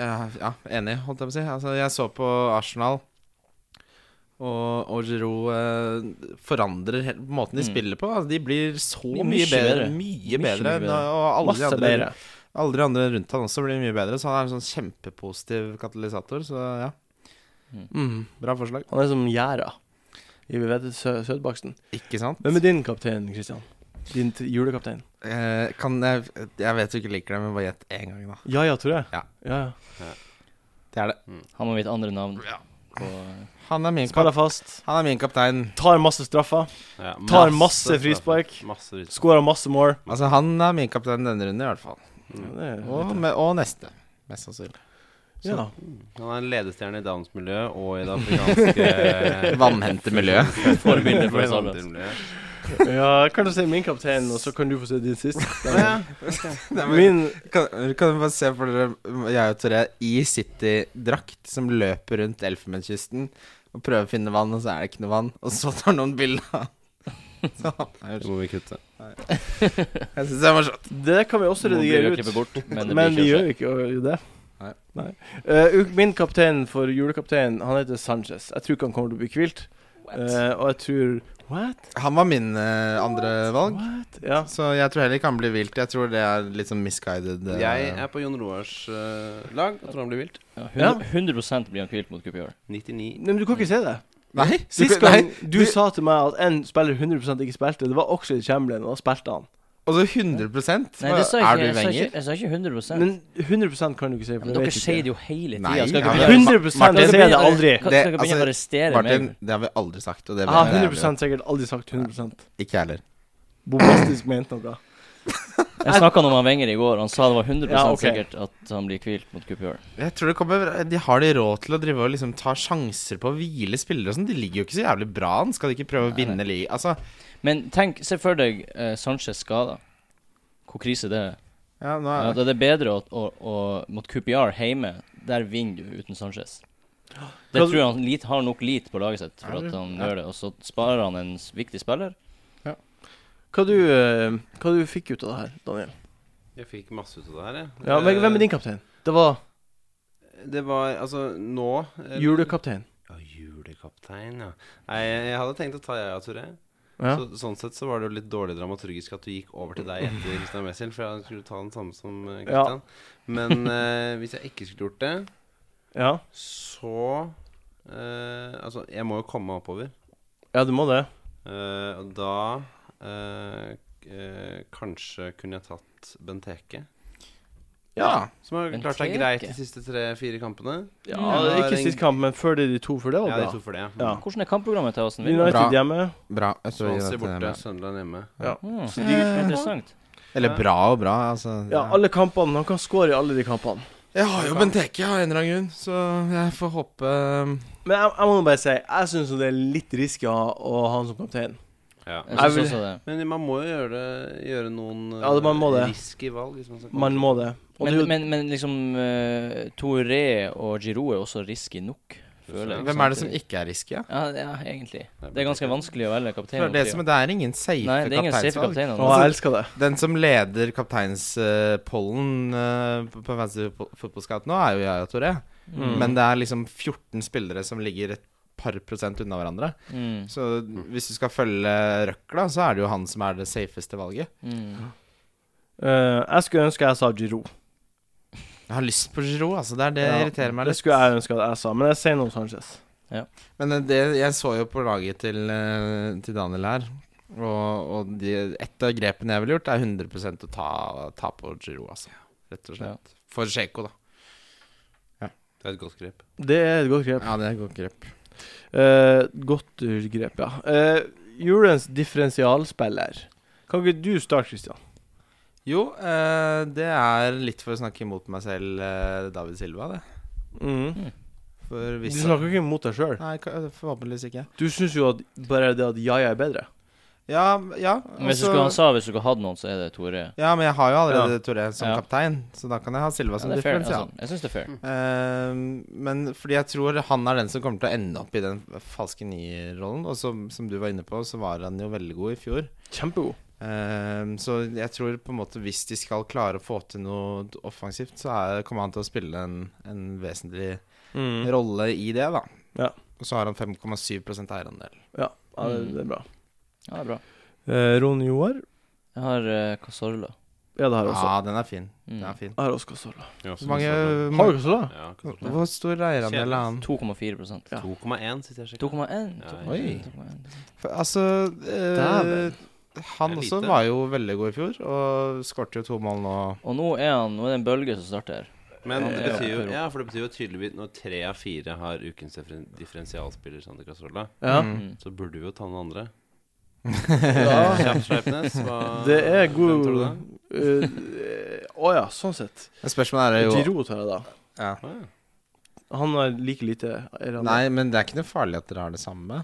Speaker 2: ja, ja, enig, holdt jeg på å si. Altså, jeg så på Arsenal. Og, og Giroud eh, forandrer helt måten de
Speaker 3: Mm.
Speaker 2: spiller på. Altså, de blir så
Speaker 3: Mye
Speaker 2: mye, bedre.
Speaker 3: bedre.
Speaker 2: Mye
Speaker 3: Mye
Speaker 2: bedre.
Speaker 3: bedre.
Speaker 2: enn- Og alle de
Speaker 1: Masse
Speaker 2: andre
Speaker 1: bedre.
Speaker 2: Alle de andre rundt han også blir mye bedre, så han er en sånn kjempepositiv katalysator, så ja. Mm, bra forslag.
Speaker 1: Han er som gjæra i vi vet, sø Sødbaksten.
Speaker 2: Ikke sant?
Speaker 1: Hvem er din kaptein, Christian? Din t- julekaptein?
Speaker 2: Eh, kan jeg, jeg vet du ikke liker det, men bare gjett én gang, da.
Speaker 1: Ja ja, tror jeg.
Speaker 2: Ja.
Speaker 1: ja, ja.
Speaker 2: Det er det.
Speaker 3: Han må vite andre navn. På,
Speaker 2: Han er min,
Speaker 1: Spiller
Speaker 2: kap
Speaker 1: fast.
Speaker 2: han er min kaptein.
Speaker 1: Tar masse straffer.
Speaker 4: Ja,
Speaker 1: Tar masse frispark.
Speaker 4: Masse frispark.
Speaker 1: Skårer masse mål.
Speaker 2: Altså, han er min kaptein denne runden, i hvert fall.
Speaker 1: Ja,
Speaker 4: Mm.
Speaker 1: det er-
Speaker 2: Og, med, og neste. Mest sannsynlig.
Speaker 1: Ja.
Speaker 4: Han er en ledestjerne i Downs-miljøet og i det afrikanske eh,
Speaker 2: Vannhentemiljøet.
Speaker 3: Forbilde for oss alle.
Speaker 4: Vannhentemiljøet.
Speaker 1: ja, kan du si min kaptein, og så kan du få se din siste?
Speaker 2: Min
Speaker 1: Min
Speaker 2: kan, kan du bare se for dere jeg og Toré i City-drakt som løper rundt Elfenbenskysten og prøver å finne vann, og så er det ikke noe vann. Og så tar noen bilde av Så han er jo
Speaker 4: Det må vi kutte.
Speaker 3: eh,
Speaker 2: Jeg syns det var morsomt.
Speaker 1: Det kan vi også
Speaker 3: Nå blir
Speaker 1: redigere
Speaker 3: det
Speaker 1: ut.
Speaker 3: klippet bort, men det
Speaker 1: Men
Speaker 3: blir
Speaker 1: vi
Speaker 3: ikke å
Speaker 1: gjør jo ikke øh, det.
Speaker 2: Nei.
Speaker 1: Eh, u- min kaptein for julekapteinen, han heter Sanchez. Jeg tror ikke han kommer til å bli hvilt. Eh, og jeg tror What?
Speaker 2: Han var min eh, andre valg.
Speaker 1: What? Ja.
Speaker 2: Så jeg tror heller ikke han blir vilt. Jeg tror det er litt sånn misguided. eh,
Speaker 4: Jeg er på Jon Roars eh, lag. Jeg tror han blir vilt.
Speaker 3: Ja,
Speaker 1: Ja.
Speaker 3: 100, 100 blir han hvilt mot Coupeur.
Speaker 4: 99.
Speaker 1: Nei, men du kan ikke si det.
Speaker 2: Nei,
Speaker 1: Sist
Speaker 2: du, nei,
Speaker 1: gang du, sa til meg at en spiller 100 ikke spilte, det var Oxlade Chamberlain, og da spilte han.
Speaker 2: Og så 100
Speaker 3: Nei, det sa
Speaker 2: Er du
Speaker 3: jeg ikke. Jeg sa ikke,
Speaker 2: Wenger?
Speaker 3: jeg sa ikke 100
Speaker 1: Men 100 kan du ikke si. For
Speaker 3: Men
Speaker 1: jeg
Speaker 3: dere
Speaker 1: vet
Speaker 3: sier
Speaker 1: ikke.
Speaker 3: det jo hele tida.
Speaker 2: Nei,
Speaker 3: Skal dere
Speaker 2: ja,
Speaker 3: begynne-
Speaker 2: men-
Speaker 1: 100
Speaker 2: Martin,
Speaker 1: sier det aldri.
Speaker 2: Det-
Speaker 3: Kan- Skal dere begynne
Speaker 2: altså,
Speaker 3: å arrestere
Speaker 2: Martin,
Speaker 3: meg?
Speaker 2: det har vi aldri sagt. Og
Speaker 1: Jeg
Speaker 2: det
Speaker 1: har
Speaker 2: mener jeg
Speaker 1: 100 sikkert aldri sagt 100
Speaker 2: jo. Ikke jeg heller.
Speaker 1: Bombastisk ment noe.
Speaker 3: Jeg snakka om han Wenger i går. Han sa det var 100
Speaker 1: Ja, ok.
Speaker 3: sikkert at han blir hvilt mot Coupeur.
Speaker 2: Jeg tror det kommer De har de råd til å drive og liksom ta sjanser på å hvile spillere og sånn. De ligger jo ikke så jævlig bra an. Skal de ikke prøve å
Speaker 3: Nei, nei.
Speaker 2: vinne ligaen? Altså,
Speaker 3: Men tenk, se for deg eh, Sanchez skada. Hvor krise det er.
Speaker 2: ja, nå
Speaker 3: Ja,
Speaker 2: er
Speaker 3: da er det bedre å, å, å mot Coupeur hjemme. Der vinner du uten Sanchez. Det
Speaker 1: Hva-
Speaker 3: tror jeg han lit, har nok lit på laget sitt for
Speaker 2: Ja,
Speaker 3: at
Speaker 2: det-
Speaker 3: han
Speaker 2: ja.
Speaker 3: gjør det. Og så sparer han en s- viktig spiller.
Speaker 1: Hva du, eh, hva du fikk ut av det her, Daniel?
Speaker 4: Jeg fikk masse ut av det her, jeg.
Speaker 1: Ja, men Hvem er din kaptein? Det var
Speaker 4: Det var altså nå eh,
Speaker 1: julekaptein.
Speaker 4: Ja, julekaptein, ja. Nei, jeg, jeg hadde tenkt å ta jeg, Toré.
Speaker 1: Ja.
Speaker 4: Så, sånn sett så var det jo litt dårlig dramaturgisk at du gikk over til deg etter Christian Wessel, for jeg skulle ta den samme som
Speaker 1: Ja.
Speaker 4: eh, Christian. Men eh, hvis jeg ikke skulle gjort det,
Speaker 1: Ja.
Speaker 4: så eh, Altså, jeg må jo komme meg oppover.
Speaker 1: ja, du må det.
Speaker 4: Eh, og da eh, eh, Kanskje kunne jeg tatt Benteke.
Speaker 2: ja.
Speaker 4: Som har klart seg
Speaker 3: Benteke?
Speaker 4: greit de siste tre-fire kampene.
Speaker 1: Ja, det er
Speaker 3: Mm.
Speaker 4: Ja,
Speaker 1: Ikke
Speaker 4: den-
Speaker 1: sist kamp, men før det de to, for det var
Speaker 4: Ja, Mm. de
Speaker 1: bra.
Speaker 4: to for det.
Speaker 1: Ja.
Speaker 3: Hvordan er kampprogrammet til Åsen Villa?
Speaker 1: United
Speaker 2: Bra.
Speaker 1: hjemme.
Speaker 2: Bra. Jeg tror
Speaker 4: Swansea
Speaker 2: jeg vet
Speaker 4: borte,
Speaker 2: det.
Speaker 4: Sunderland hjemme.
Speaker 1: Ja.
Speaker 3: Mm,
Speaker 1: Så de,
Speaker 3: interessant.
Speaker 2: Eller bra og bra, altså.
Speaker 1: ja, alle kampene. Han kan score i alle de kampene.
Speaker 2: Jeg har jo Benteke av en eller annen grunn, så jeg får håpe um,
Speaker 1: Men jeg, jeg må nå bare si, jeg syns det er litt risky å ha- å ha han som kaptein.
Speaker 4: Ja.
Speaker 1: Jeg
Speaker 3: Jeg synes
Speaker 1: vil-
Speaker 3: også det.
Speaker 4: Men man må jo gjøre, det, gjøre noen
Speaker 1: Ja, det- man må det.
Speaker 4: risky valg. Hvis man skal
Speaker 1: Man må det. Og det er
Speaker 3: Men,
Speaker 1: jo-
Speaker 3: men, men liksom uh, Touré og Giroud er også risky nok, føler jeg.
Speaker 2: Hvem er det som ikke er risky? Ja?
Speaker 3: ja, ja, egentlig. Det er ganske vanskelig å
Speaker 2: Det
Speaker 3: velge kaptein.
Speaker 2: er, det, som er, det er ingen safe
Speaker 3: Nei, det er ingen safe
Speaker 2: kapteinsvalg.
Speaker 3: kaptein.
Speaker 1: Å, jeg elsker det.
Speaker 2: Den som leder kapteinspollen uh, på på Fantasy Fo- Football Scout nå, er jo jeg og Toré.
Speaker 1: Mm.
Speaker 2: Men det er liksom 14 spillere som ligger et par prosent unna hverandre.
Speaker 3: Mm,
Speaker 2: Så hvis du skal følge røkla, så er det jo han som er det safeste valget.
Speaker 3: mm.
Speaker 1: Eh, jeg skulle ønske jeg sa Giroud.
Speaker 2: Jeg har lyst på Giroud, altså. Det er det
Speaker 1: Ja,
Speaker 2: irriterer meg
Speaker 1: Det
Speaker 2: litt.
Speaker 1: skulle jeg ønske at jeg sa, men jeg sier noe om Sanchez.
Speaker 2: Men eh, det, jeg så jo på laget til, eh, til Daniel her, Og, og de, et av grepene jeg ville gjort, er 100 å ta, ta på Giro, altså. Rett og slett. For Sjeko, da.
Speaker 4: Det er et godt grep.
Speaker 1: Det er et godt grep.
Speaker 2: Ja, det er et godt grep.
Speaker 1: Eh, godt grep, ja. Eh, julens differensialspiller. Kan ikke du starte, Christian?
Speaker 2: Jo, eh, det er litt for å snakke imot meg selv, eh, David Silva, det.
Speaker 1: Mm. Du
Speaker 2: For hvis
Speaker 1: snakker ikke mot deg sjøl.
Speaker 2: Nei, ka- forhåpentligvis ikke.
Speaker 1: Du syns jo at bare det at Jaja er bedre.
Speaker 2: Ja, ja. altså-
Speaker 3: Men hvis du
Speaker 2: også-
Speaker 3: skulle, han sa hvis du skulle hatt noen, så er det Tore.
Speaker 2: ja, men jeg har jo allerede Toré som
Speaker 3: Ja.
Speaker 2: kaptein, så da kan jeg ha Silva
Speaker 3: Ja,
Speaker 2: som
Speaker 3: det er fair.
Speaker 2: differensial.
Speaker 3: Altså, jeg syns det er fair.
Speaker 2: Eh, men fordi jeg tror han er den som kommer til å ende opp i den falske nierrollen. Og som, som du var inne på, så var han jo veldig god i fjor.
Speaker 1: Kjempegod.
Speaker 2: Eh, så jeg tror på en måte hvis de skal klare å få til noe offensivt, så er, kommer han til å spille en, en vesentlig
Speaker 1: Mm.
Speaker 3: Mm.
Speaker 2: rolle i det, da.
Speaker 1: Ja.
Speaker 2: Og så har han 5,7 eierandel.
Speaker 1: Ja, ja det, det er bra.
Speaker 3: Ja, det er bra.
Speaker 1: Eh, Ron Joar.
Speaker 3: Jeg har eh, Casorla.
Speaker 1: Ja, det har jeg også.
Speaker 2: Ja, den er fin. Den er
Speaker 3: Mm.
Speaker 2: fin.
Speaker 1: Jeg har også Casola.
Speaker 4: Ja,
Speaker 2: Hvor mange
Speaker 1: Har du Casola?
Speaker 4: Ja, akkurat.
Speaker 2: Hvor stor eierandel er han?
Speaker 3: 2,4
Speaker 1: Ja.
Speaker 4: 2,1 sitter jeg og sjekker.
Speaker 3: 2,1.
Speaker 4: Ja,
Speaker 3: 2,1,
Speaker 2: oi.
Speaker 3: 2,1.
Speaker 2: For, altså eh,
Speaker 1: Dæven.
Speaker 2: Han
Speaker 4: Det er
Speaker 2: også
Speaker 4: lite.
Speaker 2: var jo veldig god i fjor, og skårte jo to mål nå.
Speaker 3: Og nå er han Nå er det en bølge som starter her.
Speaker 4: Men
Speaker 3: Ja,
Speaker 4: det
Speaker 3: det er
Speaker 4: betyr jo,
Speaker 3: jo-
Speaker 4: ja, for det betyr jo tydeligvis når tre av fire har ukens differen- differensialspiller, Sander Castrola,
Speaker 1: Ja.
Speaker 3: Mm.
Speaker 4: så burde vi jo ta noen andre.
Speaker 1: ja.
Speaker 4: Kjapt, Sleipnes. hva-
Speaker 1: Det er
Speaker 4: hvem
Speaker 1: god
Speaker 4: tror
Speaker 1: Å
Speaker 4: du det er?
Speaker 1: ja, sånn sett.
Speaker 2: Men spørsmålet er jo
Speaker 1: Giro tar jeg, da.
Speaker 2: ja.
Speaker 4: Å, ja.
Speaker 1: Han har like lite Iran.
Speaker 2: Nei, men det er ikke noe farlig at dere har det samme.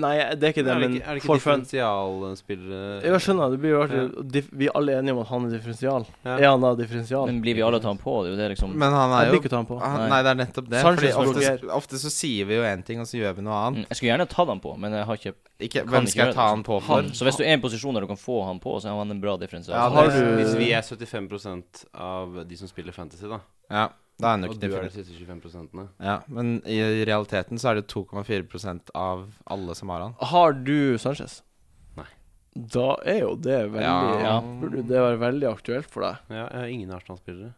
Speaker 1: Nei, det er ikke det,
Speaker 4: Er det
Speaker 1: men
Speaker 4: ikke, er det ikke
Speaker 1: for fun.
Speaker 4: differensialspillere
Speaker 1: Jeg skjønner, det blir jo artig. Og dif- Vi er alle enige om at han er differensial.
Speaker 4: Ja.
Speaker 1: Er han da differensial?
Speaker 3: Men blir vi alle å ta han på? Det er jo det, liksom.
Speaker 2: Men han
Speaker 1: Jeg
Speaker 2: er
Speaker 1: vil
Speaker 2: jo Ah.
Speaker 1: ikke ta han på.
Speaker 2: han,
Speaker 3: Nei.
Speaker 2: Nei, det er nettopp det.
Speaker 1: Sanchez
Speaker 2: Fordi ofte,
Speaker 1: blokker.
Speaker 2: ofte så sier vi jo én ting, og så gjør vi noe
Speaker 3: Mm,
Speaker 2: annet.
Speaker 3: Jeg skulle gjerne tatt han på, men jeg har ikke
Speaker 2: Ikke,
Speaker 3: Kan
Speaker 2: hvem
Speaker 3: ikke
Speaker 2: skal
Speaker 3: gjøre
Speaker 2: jeg ta
Speaker 3: det.
Speaker 2: han på for?
Speaker 3: han. Så hvis du er i en posisjon der du kan få han på, så er han en bra differensial.
Speaker 2: Ja,
Speaker 1: har
Speaker 4: Har
Speaker 1: du-
Speaker 4: Hvis vi er 75 av de som spiller Fantasy, da,
Speaker 2: Ja, da er han jo
Speaker 4: og
Speaker 2: ikke
Speaker 4: du er de
Speaker 2: different.
Speaker 4: siste 25
Speaker 2: Ja, men i realiteten så er det 2,4 av alle som har han.
Speaker 1: Har du Sanchez?
Speaker 4: Nei.
Speaker 1: Da er jo det veldig
Speaker 2: Ja.
Speaker 1: Burde det være veldig aktuelt for deg?
Speaker 4: Ja, jeg har ingen Arsenal-spillere.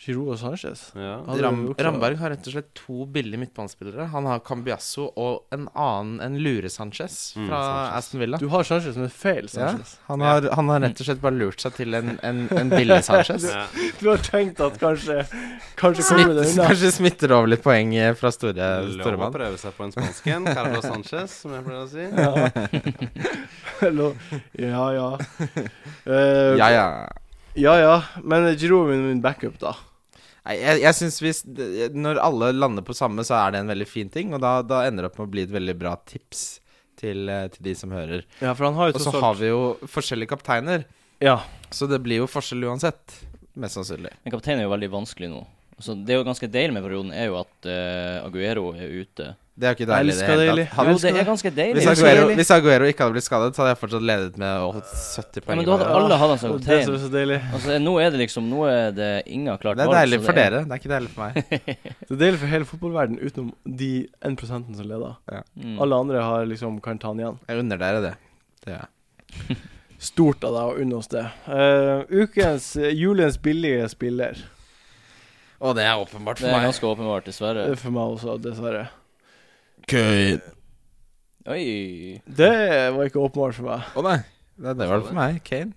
Speaker 1: Giroud og Sanchez?
Speaker 4: Ja.
Speaker 1: Ja, det er
Speaker 2: Ram,
Speaker 1: jo klart.
Speaker 2: Ramberg har rett og slett to billige midtbanespillere. Han har Cambiasso og en annen, en Lure Sanchez fra
Speaker 4: Mm, Sanchez.
Speaker 2: Aston Villa.
Speaker 1: Du har Sanchez, men feil
Speaker 2: Ja,
Speaker 1: Sanchez.
Speaker 2: han, har, han har rett og slett bare lurt seg til en, en, en billig Sanchez.
Speaker 4: Ja.
Speaker 1: Du har tenkt at kanskje Kanskje kommer
Speaker 2: Smitter,
Speaker 1: det unna.
Speaker 2: kanskje smitter over litt poeng eh, fra store,
Speaker 4: Lov å
Speaker 2: Storemann.
Speaker 4: prøve seg på en spansk en. Carlos Sanchez, som jeg pleier å si.
Speaker 1: Ja. Eller- ja, ja. Eh,
Speaker 2: Ja, ja.
Speaker 1: ja, ja. Men Giroud er min, min backup, da.
Speaker 2: Nei, Jeg, jeg syns hvis Når alle lander på samme, så er det en veldig fin ting, og da, da ender det opp med å bli et veldig bra tips til, eh, til de som hører.
Speaker 1: Ja, for han har jo
Speaker 2: Og så
Speaker 1: tross alt
Speaker 2: har vi jo forskjellige kapteiner,
Speaker 1: Ja.
Speaker 2: så det blir jo forskjell uansett. Mest sannsynlig.
Speaker 3: Men kapteinen er jo veldig vanskelig nå. Så det er jo ganske deilig med perioden, er jo at eh, Aguero er ute.
Speaker 2: Det er jo ikke deilig i det
Speaker 1: Elsker
Speaker 2: hele
Speaker 1: deilig.
Speaker 2: tatt.
Speaker 3: Jo,
Speaker 2: Han,
Speaker 3: det er ganske deilig.
Speaker 2: hvis,
Speaker 1: så
Speaker 2: Aguero,
Speaker 1: deilig.
Speaker 2: hvis Aguero ikke hadde blitt skadet, så hadde jeg fortsatt ledet med å holde 70
Speaker 3: Ja,
Speaker 2: poeng.
Speaker 3: men da
Speaker 2: i
Speaker 3: hadde
Speaker 2: dag.
Speaker 3: alle hatt han som
Speaker 1: Og Det som
Speaker 3: kaptein.
Speaker 1: er så deilig.
Speaker 3: Altså, nå er det liksom Nå er det ingen klart
Speaker 2: det er
Speaker 3: valg,
Speaker 2: deilig
Speaker 3: så
Speaker 2: for
Speaker 3: det er-
Speaker 2: dere, det er ikke deilig for meg.
Speaker 1: Det er deilig for hele fotballverdenen utenom de 1 som leder.
Speaker 3: Mm.
Speaker 1: Alle andre har liksom kan ta han igjen.
Speaker 2: Jeg unner dere det. Det gjør jeg.
Speaker 1: Stort av deg å unne oss det. Eh, ukens eh, julens billige spiller.
Speaker 2: Og det er åpenbart
Speaker 3: Det er ganske åpenbart, dessverre.
Speaker 1: Det er for meg også, dessverre.
Speaker 2: Køy.
Speaker 3: Oi.
Speaker 1: Det var ikke åpenbart for meg.
Speaker 2: Å nei, det, det var det for meg. Kane.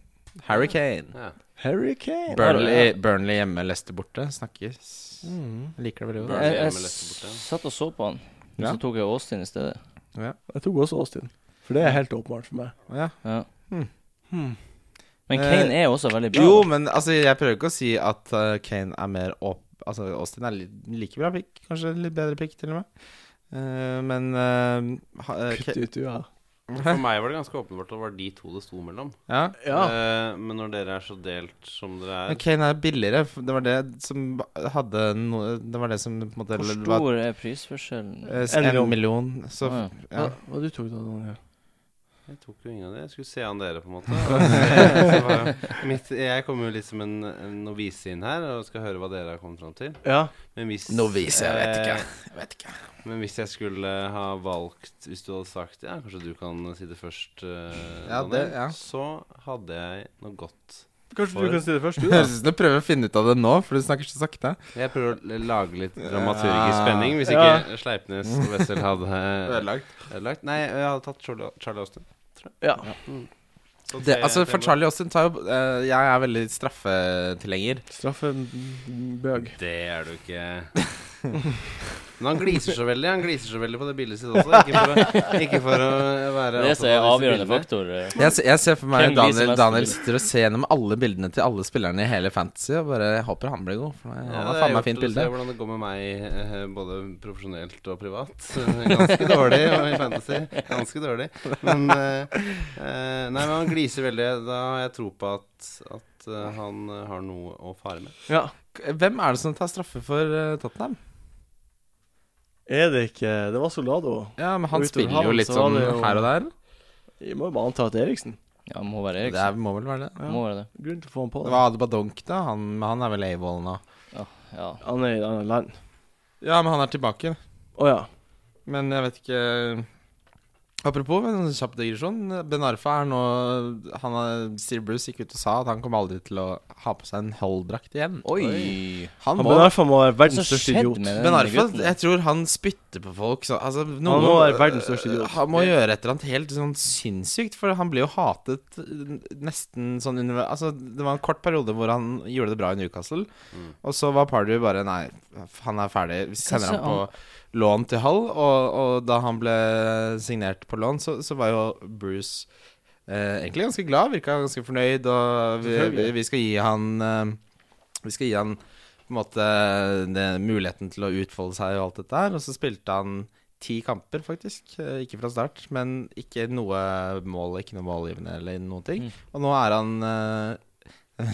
Speaker 2: Harry Kane.
Speaker 4: Ja.
Speaker 1: Harry Kane.
Speaker 2: Burnley, Burnley hjemme, Leicester borte. Snakkes.
Speaker 1: Mm.
Speaker 2: Jeg liker det veldig
Speaker 3: Jeg,
Speaker 2: godt.
Speaker 4: Burnley.
Speaker 3: jeg
Speaker 4: Hjemme leste bort, ja.
Speaker 3: satt og så på han, men
Speaker 2: Ja.
Speaker 3: så tok jeg Austin i stedet.
Speaker 1: Jeg tok også Austin, for det er helt åpenbart for meg.
Speaker 2: Ja.
Speaker 3: Ja.
Speaker 2: Hmm.
Speaker 1: Hmm.
Speaker 3: Men
Speaker 2: Eh,
Speaker 3: Kane er også veldig bra.
Speaker 2: Jo,
Speaker 3: da.
Speaker 2: men altså, jeg prøver ikke å si at eh, Kane er mer opp... Altså, Austin er li like bra pick, kanskje litt bedre pick, til og med. Eh, men eh, ha, eh,
Speaker 1: Kutt ut ua.
Speaker 2: Ka-
Speaker 4: For meg var det ganske åpenbart at det var de to det sto mellom.
Speaker 2: ja.
Speaker 1: Ja.
Speaker 4: Eh, men når dere er så delt som dere
Speaker 2: Men
Speaker 4: er
Speaker 2: Kane er billigere. f- Det var det som hadde no, Det var det som på en måte
Speaker 3: Hvor
Speaker 2: eller det var,
Speaker 3: stor er prisforskjellen?
Speaker 2: eh,
Speaker 1: En
Speaker 2: En
Speaker 1: million.
Speaker 2: million. Så
Speaker 3: Å, ja.
Speaker 1: Hva,
Speaker 2: ja.
Speaker 1: hva du tok du da, Daniel?
Speaker 4: Jeg tok jo ingen av det. Jeg skulle se an dere, på en måte. Og så- så var jeg- Mitt, jeg kommer jo litt som en, en novise inn her og skal høre hva dere har kommet fram til.
Speaker 1: Ja.
Speaker 4: Men hvis
Speaker 2: Novise, jeg vet ikke.
Speaker 4: eh,
Speaker 2: Jeg vet ikke.
Speaker 4: Men hvis jeg skulle ha valgt Hvis du hadde sagt Ja, kanskje du kan si det først, eh,
Speaker 2: Ja,
Speaker 4: Daniel,
Speaker 2: det- ja.
Speaker 4: så hadde jeg noe godt.
Speaker 1: Kanskje
Speaker 4: For-
Speaker 1: du kan si det først, du,
Speaker 2: Det
Speaker 1: da?
Speaker 2: høres ut som du prøver å finne ut av det nå, for du snakker så sakte.
Speaker 4: Jeg prøver å l- lage litt dramaturgisk
Speaker 2: Ja.
Speaker 4: spenning, hvis ikke Sleipnes og Wessel hadde
Speaker 2: Ødelagt.
Speaker 4: ødelagt. Nei, jeg hadde tatt Charlie Charlie Austin. tror jeg.
Speaker 1: Ja.
Speaker 4: Så
Speaker 2: Det,
Speaker 4: tre-
Speaker 2: altså,
Speaker 4: tre
Speaker 2: for
Speaker 4: mål.
Speaker 2: Charlie Austin tar jo eh, Jeg er veldig straffetilhenger.
Speaker 1: Straffebøg.
Speaker 4: Det er du ikke. Men han gliser så veldig Han gliser så veldig på det bildet sitt også. Ikke for å, ikke for å være
Speaker 3: Det er det som er
Speaker 4: opptatt av disse
Speaker 3: avgjørende
Speaker 4: bildene.
Speaker 3: faktor. eh.
Speaker 2: Jeg, se- jeg ser for meg
Speaker 3: Hvem viser
Speaker 2: Daniel,
Speaker 3: mest
Speaker 2: Daniel
Speaker 3: til?
Speaker 2: sitter og ser gjennom alle bildene til alle spillerne i hele Fantasy og bare jeg håper han blir god. For han
Speaker 4: Ja,
Speaker 2: har
Speaker 4: det
Speaker 2: faen
Speaker 4: er gjort
Speaker 2: meg fint
Speaker 4: å
Speaker 2: bilde.
Speaker 4: Se hvordan det går med meg, eh, både profesjonelt og privat. Ganske dårlig og i fantasy. Ganske dårlig. Men eh, eh, Nei, men han gliser veldig. Da har jeg tro på at, at eh, han eh, har noe å fare med.
Speaker 1: Ja.
Speaker 2: Hvem er det som tar straffe for eh, Tottenham?
Speaker 1: Er det ikke Det var Soldado.
Speaker 2: Ja, men han
Speaker 1: Utover
Speaker 2: spiller
Speaker 1: han,
Speaker 2: jo litt
Speaker 1: så var
Speaker 2: sånn
Speaker 1: det jo-
Speaker 2: her og der.
Speaker 1: Vi må jo bare anta at Eriksen.
Speaker 3: Ja, må være
Speaker 2: Det
Speaker 3: Eriksen.
Speaker 2: er, må vel være det.
Speaker 3: Må være det.
Speaker 1: Grunn til å få han på.
Speaker 2: Det
Speaker 1: Det.
Speaker 2: var Adbadonk, da. Han, men han er vel A-ball nå.
Speaker 3: Ja.
Speaker 1: Han er i et annet land.
Speaker 2: Ja, men han er tilbake.
Speaker 1: Å ja.
Speaker 2: Men jeg vet ikke Apropos en sånn kjapp digresjon. Ben Arfa er nå han er, Steve Bruce gikk ut og sa at han kommer aldri til å ha på seg en Hull-drakt igjen.
Speaker 3: Oi!
Speaker 2: Han
Speaker 1: Han
Speaker 2: må,
Speaker 1: Ben Arfa må være
Speaker 3: Hva som
Speaker 1: verdens største
Speaker 3: skjedde
Speaker 1: idiot.
Speaker 3: med den
Speaker 2: ben Arfa
Speaker 3: gutten?
Speaker 2: Jeg tror han spytter på folk. Så, altså, noen,
Speaker 1: må være verdens største idiot.
Speaker 2: Han må gjøre et eller annet helt sånn sinnssykt, for han blir jo hatet eh, nesten sånn under Altså, det var en kort periode hvor han gjorde det bra i Newcastle, og så var Pardew bare Nei, han er ferdig. Vi sender ham
Speaker 3: Kanskje
Speaker 2: på lån til Hull, og, og da han ble signert på lån, så, så var jo Bruce eh, egentlig ganske glad, virka ganske fornøyd, og vi, vi, vi skal gi han eh, Vi skal gi han på en måte det, muligheten til å utfolde seg og alt dette her. Og så spilte han ti kamper, faktisk. Eh, Ikke fra start, men ikke noe mål, ikke noe målgivende eller noen ting.
Speaker 3: Mm.
Speaker 2: Og nå er han eh,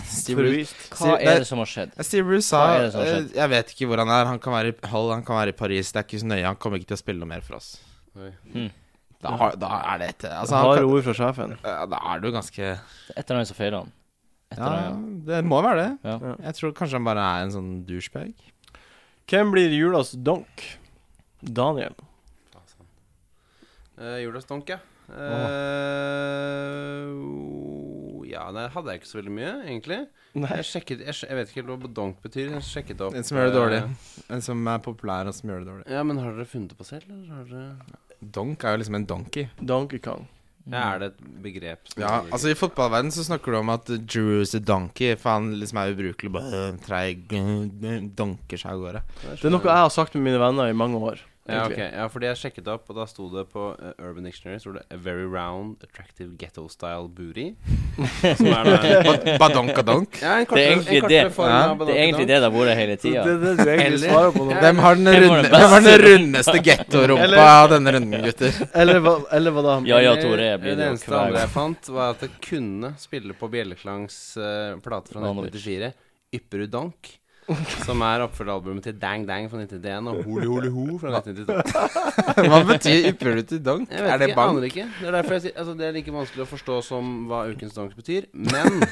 Speaker 2: Steve Bruce.
Speaker 1: Forvist.
Speaker 3: Hva
Speaker 2: Sier-
Speaker 3: er det som har skjedd?
Speaker 2: Eh, Steve Bruce sa
Speaker 3: Hva er det som har
Speaker 2: eh,
Speaker 3: skjedd?
Speaker 2: Jeg vet ikke hvor han er. Han kan være i Hull, han kan være i Paris. Det er ikke så nøye. Han kommer ikke til å spille noe mer for oss.
Speaker 4: Oi.
Speaker 2: Da, har, da er det etter. Altså, han
Speaker 1: Harde
Speaker 2: kan,
Speaker 1: ord fra sjefen.
Speaker 2: eh, da er du ganske
Speaker 3: Det er Et eller annet som feiler han. Et
Speaker 2: Ja,
Speaker 3: eller annet.
Speaker 2: det må være det.
Speaker 3: Ja.
Speaker 1: Ja.
Speaker 2: Jeg tror kanskje han bare er en sånn douchebag.
Speaker 1: Hvem blir julas donk? Daniel.
Speaker 4: Uh, Julas Donk, ja. Eh, o- ja, der hadde jeg ikke så veldig mye, egentlig.
Speaker 1: Nei.
Speaker 4: Jeg, sjekket, jeg, sj- jeg vet ikke helt hva donk betyr. Jeg sjekket opp
Speaker 2: En som gjør det
Speaker 4: eh,
Speaker 2: dårlig. En som er populær, og som gjør det dårlig.
Speaker 4: Ja, men har dere funnet det på selv, eller har dere
Speaker 2: Donk er jo liksom en donkey.
Speaker 1: Donkey Kong.
Speaker 4: ja, Er det et begrep? som
Speaker 2: Ja,
Speaker 4: dere-
Speaker 2: altså I fotballverden så snakker du om at Drew is a donkey, for han liksom er ubrukelig. Bare øh, treig, øh, donker seg av gårde.
Speaker 1: Det er noe jeg har sagt med mine venner i mange år.
Speaker 4: Ja, ok,
Speaker 1: egentlig.
Speaker 4: ja, fordi jeg sjekket opp, og da sto det på eh, Urban Dictionary sto det 'A very round, attractive ghetto-style booty'. Som er da
Speaker 2: Ba- Badonkadonk.
Speaker 4: ja, en
Speaker 3: Det er egentlig det.
Speaker 2: Ja.
Speaker 4: av
Speaker 3: Mm. Det er egentlig det det har vært hele
Speaker 1: Så
Speaker 3: tida.
Speaker 1: det er det du egentlig
Speaker 4: Eller-
Speaker 1: svarer på nå.
Speaker 2: Hvem har den,
Speaker 3: Hvem var
Speaker 2: runde,
Speaker 3: den
Speaker 2: hvem har den
Speaker 3: beste?
Speaker 2: rundeste gettorumpa av denne runden, gutter?
Speaker 1: Eller hva, eller hva da?
Speaker 3: Ja, ja, Tore. Jeg
Speaker 4: Det
Speaker 3: blir det jo
Speaker 4: eneste
Speaker 3: hver
Speaker 4: andre jeg
Speaker 3: gang.
Speaker 4: fant, var at det kunne spille på Bjelleklangs eh, plate fra
Speaker 3: Ivanovic.
Speaker 4: 1994, 'Ypperud Donk', som er oppfølgealbumet til Dang Dang fra 1991 og Holi Holi Ho fra 1992.
Speaker 2: Hva betyr ypperlig til donk?
Speaker 4: Jeg vet
Speaker 2: Er det
Speaker 4: ikke, jeg aner
Speaker 2: bank?
Speaker 4: ikke. Det er derfor jeg sier Altså, det er like vanskelig å forstå som hva ukens dank betyr. Men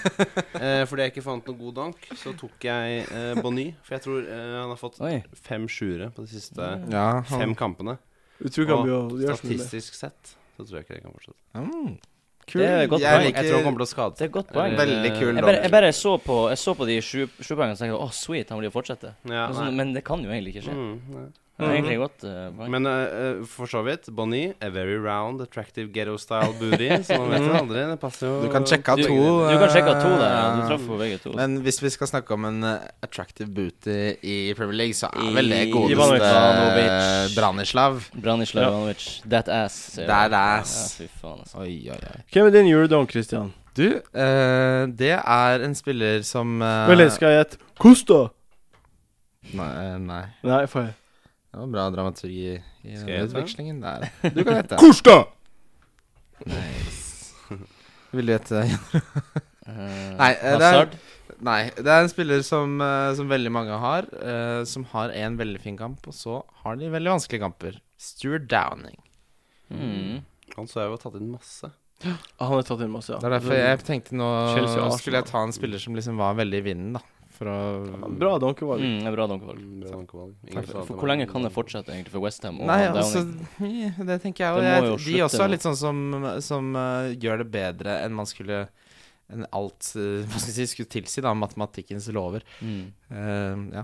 Speaker 4: eh, fordi jeg ikke fant noen god dank, så tok jeg eh, Bonny. For jeg tror eh, han har fått
Speaker 3: Oi.
Speaker 4: fem sjuere på de siste
Speaker 2: Ja, han,
Speaker 4: fem kampene.
Speaker 1: Du tror ikke han blir å gjøre så mye med det?
Speaker 4: Statistisk sett så tror jeg ikke det kan fortsette.
Speaker 2: mm,
Speaker 3: Det er et godt
Speaker 2: Jeg
Speaker 3: poeng.
Speaker 4: Jeg tror han
Speaker 2: liker
Speaker 4: kommer til å skade
Speaker 3: Det
Speaker 4: seg.
Speaker 3: er et godt poeng.
Speaker 4: Eller-
Speaker 2: Veldig kul
Speaker 3: Jeg bare, jeg bare så på Jeg så på de sju sju poengene og tenkte å, sweet, han blir å fortsette.
Speaker 4: Ja,
Speaker 3: Og så-
Speaker 4: nei.
Speaker 3: men det sånn kan jo egentlig ikke skje.
Speaker 4: Mm, nei.
Speaker 3: Det er egentlig godt eh, poeng.
Speaker 4: Men eh, eh, for så vidt, Bonny, a very round, attractive ghetto-style booty. Så man vet jo aldri. Det passer jo
Speaker 2: Du kan sjekke av
Speaker 3: Du-
Speaker 2: to.
Speaker 3: Du kan sjekke av to der. Ja. Du
Speaker 2: eh,
Speaker 3: traff på begge to.
Speaker 2: Men hvis vi skal snakke om en eh, attractive booty i Premier League, så
Speaker 3: I-
Speaker 2: er vel det
Speaker 1: Ivanovic.
Speaker 2: godeste eh,
Speaker 3: Ivanovic.
Speaker 2: Branislav.
Speaker 3: Branislav Ivanovic. That ass. sier
Speaker 2: That
Speaker 3: jeg.
Speaker 2: ass.
Speaker 3: Ja, fy faen, altså.
Speaker 2: Oi, oi, oi.
Speaker 1: Hvem er din juledonk, Christian?
Speaker 2: Du, eh, det er en spiller som eh,
Speaker 1: Vel, skal jeg gjette Kosta?
Speaker 2: Nei, eh, nei.
Speaker 1: Nei, får jeg
Speaker 2: Det var bra dramaturgi i
Speaker 4: Skal
Speaker 2: den
Speaker 4: jeg gjette?
Speaker 2: utvekslingen der. Du kan gjette.
Speaker 1: Kosta!
Speaker 2: Vil du gjette?
Speaker 3: Eh,
Speaker 2: Nei, eh, det er,
Speaker 3: Hazard.
Speaker 2: nei, det er en spiller som, eh, som veldig mange har. eh, som har en veldig fin kamp, og så har de veldig vanskelige kamper. Stuart Downing.
Speaker 3: Mm.
Speaker 4: Han så jeg jo har tatt inn masse.
Speaker 1: Ah, Han har tatt inn masse, ja.
Speaker 2: Det er derfor jeg tenkte nå
Speaker 1: Chelsea og Arsenal.
Speaker 2: skulle jeg ta en spiller som liksom var veldig i vinden, da. For å
Speaker 1: Bra donkevalg.
Speaker 3: Mm, det er bra donkevalg.
Speaker 4: Mm, bra dankevalg. Ingen
Speaker 3: For,
Speaker 4: sa
Speaker 3: for
Speaker 4: at
Speaker 3: hvor
Speaker 4: var-
Speaker 3: lenge kan det fortsette egentlig for Westham?
Speaker 2: Nei, altså Det tenker jeg
Speaker 3: Det
Speaker 2: og
Speaker 3: må
Speaker 2: jeg-
Speaker 3: jo
Speaker 2: De
Speaker 3: slutte
Speaker 2: også er
Speaker 3: nå.
Speaker 2: litt sånn som, som eh, gjør det bedre enn man skulle Enn alt eh, Hva skal jeg si skulle tilsi, da, matematikkens lover.
Speaker 3: mm.
Speaker 2: Eh, ja.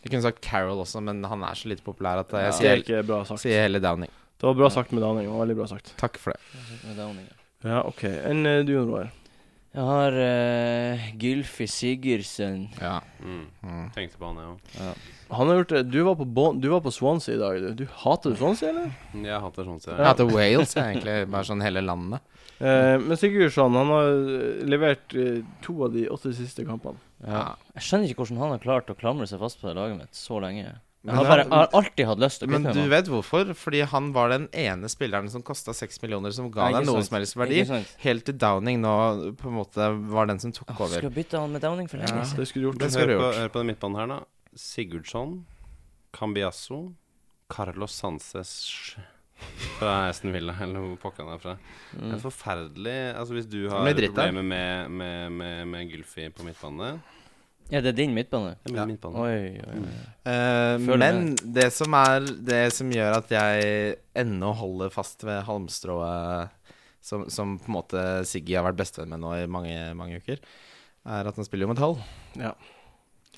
Speaker 2: Jeg kunne sagt Carol også, men han er så lite populær at jeg
Speaker 1: Det
Speaker 2: sier,
Speaker 1: er ikke bra sagt.
Speaker 2: sier hele Downing.
Speaker 1: Det var bra sagt med Daning. det var Veldig bra sagt.
Speaker 2: Takk for det.
Speaker 3: Med Downing, ja.
Speaker 1: Ja, OK. Enn eh, du, Jon Roar?
Speaker 3: Jeg har eh, Gylfi Sigurdsen.
Speaker 2: Ja.
Speaker 4: Mm.
Speaker 2: Mm.
Speaker 4: Tenkte på han, jeg òg.
Speaker 1: Han har gjort det. Du var på, bon du var på Swansea i dag, du. du hater du Swansea, eller?
Speaker 4: Mm, Jeg hater sånt, så
Speaker 2: Jeg hater Wales, jeg, egentlig. Bare sånn hele landet.
Speaker 1: Eh, men Sigurdsson han har eh, levert eh, to av de åtte siste kampene.
Speaker 2: Ja.
Speaker 3: Jeg skjønner ikke hvordan han har klart å klamre seg fast på det laget mitt så lenge.
Speaker 2: Men
Speaker 3: Jeg
Speaker 2: han-
Speaker 3: har, bare, jeg har alltid hatt lyst til å
Speaker 2: Men
Speaker 3: kvitte
Speaker 2: du
Speaker 3: meg med
Speaker 2: vet hvorfor? Fordi han var den ene spilleren som kosta seks millioner, som ga
Speaker 3: Nei,
Speaker 2: deg
Speaker 3: ikke
Speaker 2: noe
Speaker 3: sant.
Speaker 2: som helst
Speaker 3: han.
Speaker 2: verdi.
Speaker 3: Ikke sant?
Speaker 2: Helt til Downing nå på en måte var den som tok
Speaker 3: Åh,
Speaker 2: over.
Speaker 3: Skulle bytte han med Downing for lenge
Speaker 2: Ja.
Speaker 3: siden.
Speaker 1: Det skulle du gjort.
Speaker 2: Det skulle
Speaker 4: hør,
Speaker 2: du
Speaker 4: på,
Speaker 2: gjort.
Speaker 4: hør på den midtbanen her, da. Sigurdsson, Cambiasso, Carlos Sanchez fra Aston Villa, eller hvor pokker han er fra.
Speaker 3: Mm.
Speaker 4: Det
Speaker 3: Hmm.
Speaker 4: er forferdelig Altså, hvis du har
Speaker 2: Det blir dritt, da.
Speaker 4: problemer med, med, med, med Gylfi på midtbanen
Speaker 3: Ja, det er din midtbane.
Speaker 4: Det er min
Speaker 2: Ja.
Speaker 4: midtbane.
Speaker 3: Oi, oi, oi.
Speaker 2: Eh,
Speaker 3: Følg
Speaker 2: men det som er Det som gjør at jeg ennå holder fast ved halmstrået som, som på en måte Siggy har vært bestevenn med nå i mange, mange uker, er at han spiller jo med et halv.
Speaker 1: Ja.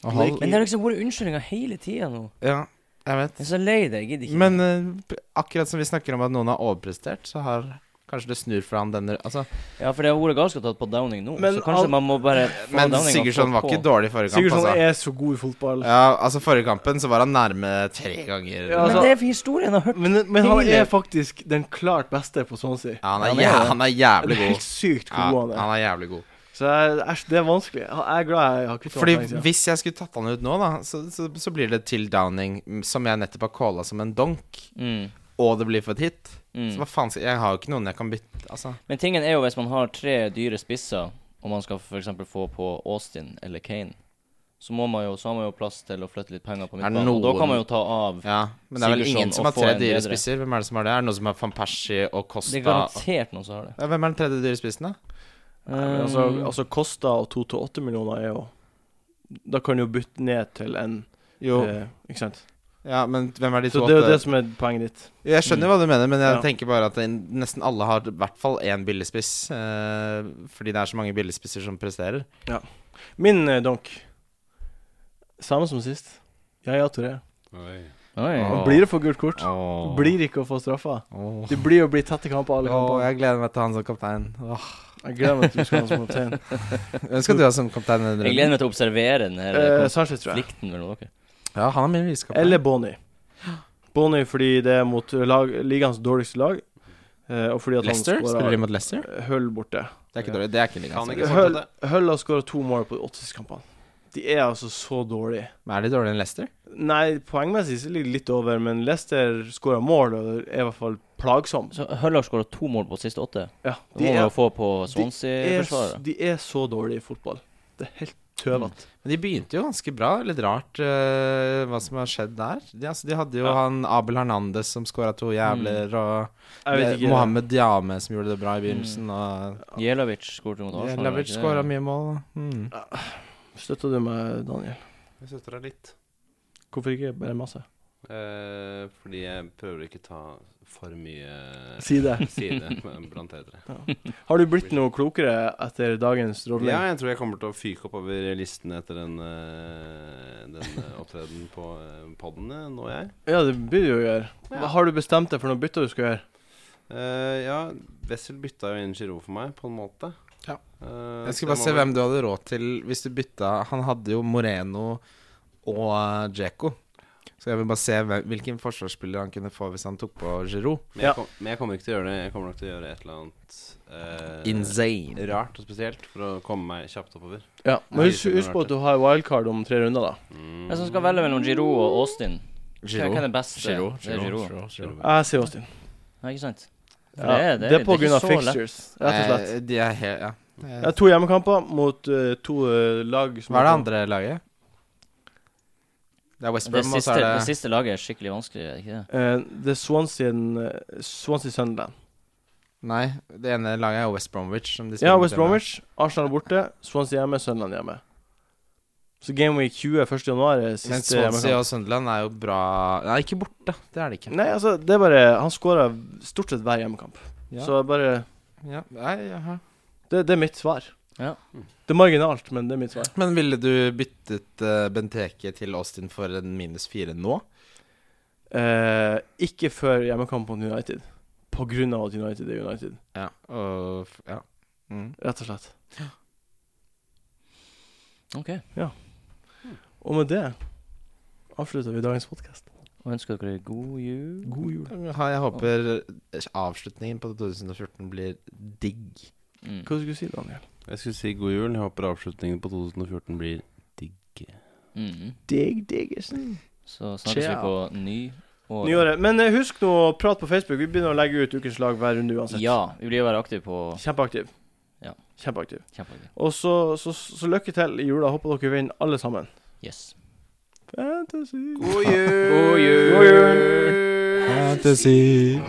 Speaker 2: Og halv
Speaker 3: Men det har liksom vært unnskyldninger hele tida nå.
Speaker 2: Ja, jeg vet.
Speaker 3: Jeg er så lei det. Jeg gidder ikke.
Speaker 2: Men eh, akkurat som vi snakker om at noen har overprestert, så har kanskje det snur for han denne Altså,
Speaker 3: ja, for det har vært ganske tatt på Downing nå,
Speaker 1: Men
Speaker 3: så kanskje
Speaker 1: al-
Speaker 3: man må bare få
Speaker 2: men
Speaker 3: Downing å
Speaker 2: Sigurdsson
Speaker 3: få
Speaker 2: var
Speaker 3: på.
Speaker 2: ikke dårlig i forrige kamp,
Speaker 1: Sigurdsson
Speaker 2: altså.
Speaker 1: er så god i fotball.
Speaker 2: Ja, altså forrige kampen så var han nærme tre ganger.
Speaker 1: Ja, altså-
Speaker 3: Men det er for historien jeg har hørt.
Speaker 1: Men, men han
Speaker 3: Tidlig.
Speaker 1: er faktisk den klart beste på sånn Swansea.
Speaker 2: Ja, han, er,
Speaker 3: Han er
Speaker 2: jæ
Speaker 3: det.
Speaker 2: han er
Speaker 1: Det
Speaker 2: jævlig
Speaker 1: er helt
Speaker 2: god.
Speaker 1: sykt
Speaker 2: Ja,
Speaker 1: hvor god han
Speaker 2: han
Speaker 1: er.
Speaker 2: er jævlig god.
Speaker 1: Så jeg- æsj, det er vanskelig. Jeg jeg er glad jeg har kuttet
Speaker 2: Fordi
Speaker 1: han for lenge siden.
Speaker 2: hvis jeg skulle tatt han ut nå, da, så, så, så blir det til Downing, m, som jeg nettopp har calla som en donk,
Speaker 3: Mm,
Speaker 2: og det blir for et hit. Så
Speaker 3: mm.
Speaker 2: hva faen skal Jeg har jo ikke noen jeg kan bytte, altså.
Speaker 3: Men tingen er jo hvis man har tre dyre spisser, og man skal f.eks. få på Austin eller Kane, så, må man jo, så har man jo plass til å flytte litt penger på
Speaker 2: Er det
Speaker 3: midtbanen. Og da
Speaker 2: noen-
Speaker 3: kan man jo ta av
Speaker 2: Ja, men det er vel
Speaker 3: Sigurdsson
Speaker 2: ingen som
Speaker 3: å
Speaker 2: har
Speaker 3: få
Speaker 2: tre
Speaker 3: en
Speaker 2: dyre
Speaker 3: bedre.
Speaker 2: spisser. Hvem er det som har det? Er det noen som har van Persie og Costa?
Speaker 3: Det er garantert noen som har det.
Speaker 2: ja, hvem er den tredje dyre spissen, da?
Speaker 1: Nei, men altså,
Speaker 3: Um,
Speaker 1: altså Kosta og 2-8 millioner er jo Da kan du jo bytte ned til en
Speaker 2: Jo,
Speaker 1: eh, Ikke sant?
Speaker 2: ja, men hvem er de
Speaker 1: Så
Speaker 2: to
Speaker 1: det er jo
Speaker 2: åtte?
Speaker 1: det som er poenget ditt.
Speaker 2: Jeg skjønner hva du mener, men jeg
Speaker 1: Mm. Ja.
Speaker 2: tenker bare at det- nesten alle har i hvert fall én billigspiss. Eh, fordi det er så mange billigspisser som presterer.
Speaker 1: Min eh, donk Samme som sist. Yaya Touré.
Speaker 4: Oi.
Speaker 3: Oi.
Speaker 2: Åh.
Speaker 1: Blir det for gult kort?
Speaker 2: Åh.
Speaker 1: Blir ikke å få straffa.
Speaker 2: Åh.
Speaker 1: Det blir å bli tette kamper alle
Speaker 2: Åh,
Speaker 1: kamper.
Speaker 2: jeg gleder meg til han som kaptein. Åh.
Speaker 1: Jeg gleder meg til du skal ha som kaptein.
Speaker 2: Hvem skal du ha som kaptein? i denne
Speaker 3: Jeg
Speaker 2: runden?
Speaker 3: gleder meg til å observere den her
Speaker 1: Eh, Sanchez, tror jeg.
Speaker 3: konflikten mellom dere.
Speaker 2: Ja, han er min viskaptein.
Speaker 1: Eller Bonnie. Bonnie fordi det er mot lag, ligaens dårligste lag. eh, Og fordi at
Speaker 2: Leicester?
Speaker 1: han
Speaker 2: Spiller de
Speaker 1: skåra
Speaker 2: mot Leicester?
Speaker 1: Hull borte.
Speaker 2: Det er ikke dårlig. Det er ikke ligaen.
Speaker 4: Kan
Speaker 2: sorry.
Speaker 4: ikke sant,
Speaker 1: Hull,
Speaker 4: dette.
Speaker 1: Hull har skåra to mål på de åtte siste kampene. De er altså så dårlige.
Speaker 2: Men er de dårligere enn Leicester?
Speaker 1: Nei, poengmessig så ligger de litt over, men Leicester skåra mål og er i hvert fall plagsom.
Speaker 3: Så Hull har skåra to mål på siste åtte.
Speaker 1: Ja,
Speaker 3: Det
Speaker 1: de,
Speaker 3: må man
Speaker 1: er,
Speaker 3: jo få på
Speaker 1: er, s-
Speaker 3: Swansea-forsvaret.
Speaker 1: de er så dårlige i fotball. Det er helt tøvete.
Speaker 2: Men de begynte jo ganske bra. Litt rart eh, hva som har skjedd der. De, altså, de hadde jo han Abel Hernandez som skåra to jævler, og
Speaker 1: Mm. Jeg vet
Speaker 2: det-
Speaker 1: ikke. Mm.
Speaker 2: Mohammed Diame som gjorde det bra i begynnelsen, og
Speaker 3: Jelavic skåret mot Arsenal.
Speaker 2: Lavic
Speaker 3: ikke det?
Speaker 2: skåra mye mål. da. Mm.
Speaker 1: Støtter du meg, Daniel?
Speaker 4: Jeg støtter deg litt.
Speaker 1: Hvorfor ikke bare masse?
Speaker 4: Eh, fordi jeg prøver ikke ta for mye
Speaker 1: Si det.
Speaker 4: side blant dere.
Speaker 1: Har du blitt noe klokere etter dagens rovling?
Speaker 4: Ja, jeg tror jeg kommer til å fyke opp over listen etter den, eh, den eh, opptredenen på eh, podden eh, nå, jeg.
Speaker 1: Ja, det blir det jo å gjøre.
Speaker 4: Ja.
Speaker 1: Har du bestemt deg for noe bytte du skal gjøre?
Speaker 4: Eh, ja, Wessel bytta jo inn Giro for meg, på en måte.
Speaker 2: Ja.
Speaker 4: Eh,
Speaker 2: Jeg
Speaker 4: så
Speaker 2: skal bare
Speaker 4: må
Speaker 2: se
Speaker 4: vel-
Speaker 2: hvem du hadde råd til hvis du bytta Han hadde jo Moreno og eh, Dzeko. Så jeg vil bare se hvem, hvilken forsvarsspiller han kunne få hvis han tok på Giroud.
Speaker 4: men jeg,
Speaker 1: Ja.
Speaker 4: kom, men jeg kommer ikke til å gjøre det. Jeg kommer nok til å gjøre et eller annet eh,
Speaker 2: Insane.
Speaker 4: rart og spesielt for å komme meg kjapt oppover.
Speaker 1: Ja,
Speaker 4: Nei,
Speaker 1: Men husk,
Speaker 4: det er
Speaker 1: husk på
Speaker 4: rart,
Speaker 1: at du har wildcard om tre runder, da.
Speaker 3: Jeg som skal velge mellom Giroud og Austin. Hvem er
Speaker 2: Giroud.
Speaker 3: den beste?
Speaker 2: Giroud,
Speaker 3: Det er Giroud.
Speaker 2: Giroud, Giroud.
Speaker 1: Jeg sier Austin.
Speaker 3: Ja, ikke sant?
Speaker 1: Ja,
Speaker 3: Det er- det er-
Speaker 1: det er på
Speaker 3: det er
Speaker 1: grunn av
Speaker 3: ikke så lett.
Speaker 1: fixtures, rett og slett.
Speaker 2: Eh, De er helt, ja.
Speaker 1: Jeg har to hjemmekamper mot eh, to eh, lag som
Speaker 2: Hva er det andre laget? Det er West
Speaker 3: Det
Speaker 2: Brom, og så
Speaker 3: siste,
Speaker 2: er
Speaker 3: det
Speaker 2: det
Speaker 3: siste laget er skikkelig vanskelig, er det ikke det?
Speaker 1: Eh, det er Swansea, eh, Swansea Sunderland.
Speaker 2: Nei, det ene laget er West Bromwich. Som de
Speaker 1: Ja,
Speaker 2: spiller
Speaker 1: West
Speaker 2: mot
Speaker 1: Bromwich. Arsenal borte. Swansea hjemme, Sunderland hjemme. Så Game Week 20 1. januar er
Speaker 2: hjemme. Men
Speaker 1: siste
Speaker 2: Swansea
Speaker 1: hjemmekamp.
Speaker 2: og Sunderland er jo bra Nei, ikke borte. Det er det ikke.
Speaker 1: Nei, altså, det er bare Han skårer stort sett hver hjemmekamp.
Speaker 2: Ja.
Speaker 1: Så bare
Speaker 2: Ja. Nei, jaha.
Speaker 1: det, det er mitt svar.
Speaker 3: Ja.
Speaker 1: Det er marginalt, men det er mitt svar.
Speaker 2: Men ville du byttet eh, Benteke til Austin for en minus fire nå?
Speaker 1: Eh, ikke før hjemmekampen mot United. På grunn av at United er United,
Speaker 2: Ja. Og f- ja. Mm.
Speaker 1: rett og slett.
Speaker 3: OK.
Speaker 1: Og med det avslutter vi dagens podkast.
Speaker 3: Og ønsker dere god jul.
Speaker 1: God jul.
Speaker 2: Ha- Jeg håper eh, avslutningen på 2014 blir digg.
Speaker 3: Mm.
Speaker 1: Hva skulle du si, Daniel?
Speaker 4: Jeg skulle si god jul. Jeg håper avslutningen på 2014 blir digg.
Speaker 3: Mm.
Speaker 1: Digg, diggersen.
Speaker 3: Så snakkes vi
Speaker 1: Ciao.
Speaker 3: på nyåret.
Speaker 1: Nyåret. Men eh, husk nå å prate på Facebook. Vi begynner å legge ut ukens lag hver runde uansett.
Speaker 3: Ja. Vi blir å være aktive på
Speaker 1: Kjempeaktiv.
Speaker 3: Ja.
Speaker 1: Kjempeaktiv.
Speaker 3: Kjempeaktiv.
Speaker 1: Og så, så, så lykke til i jula. Håper dere vinner, alle sammen.
Speaker 3: Yes.
Speaker 1: Fantasy.
Speaker 4: God jul!
Speaker 1: God jul.
Speaker 4: Fantasy.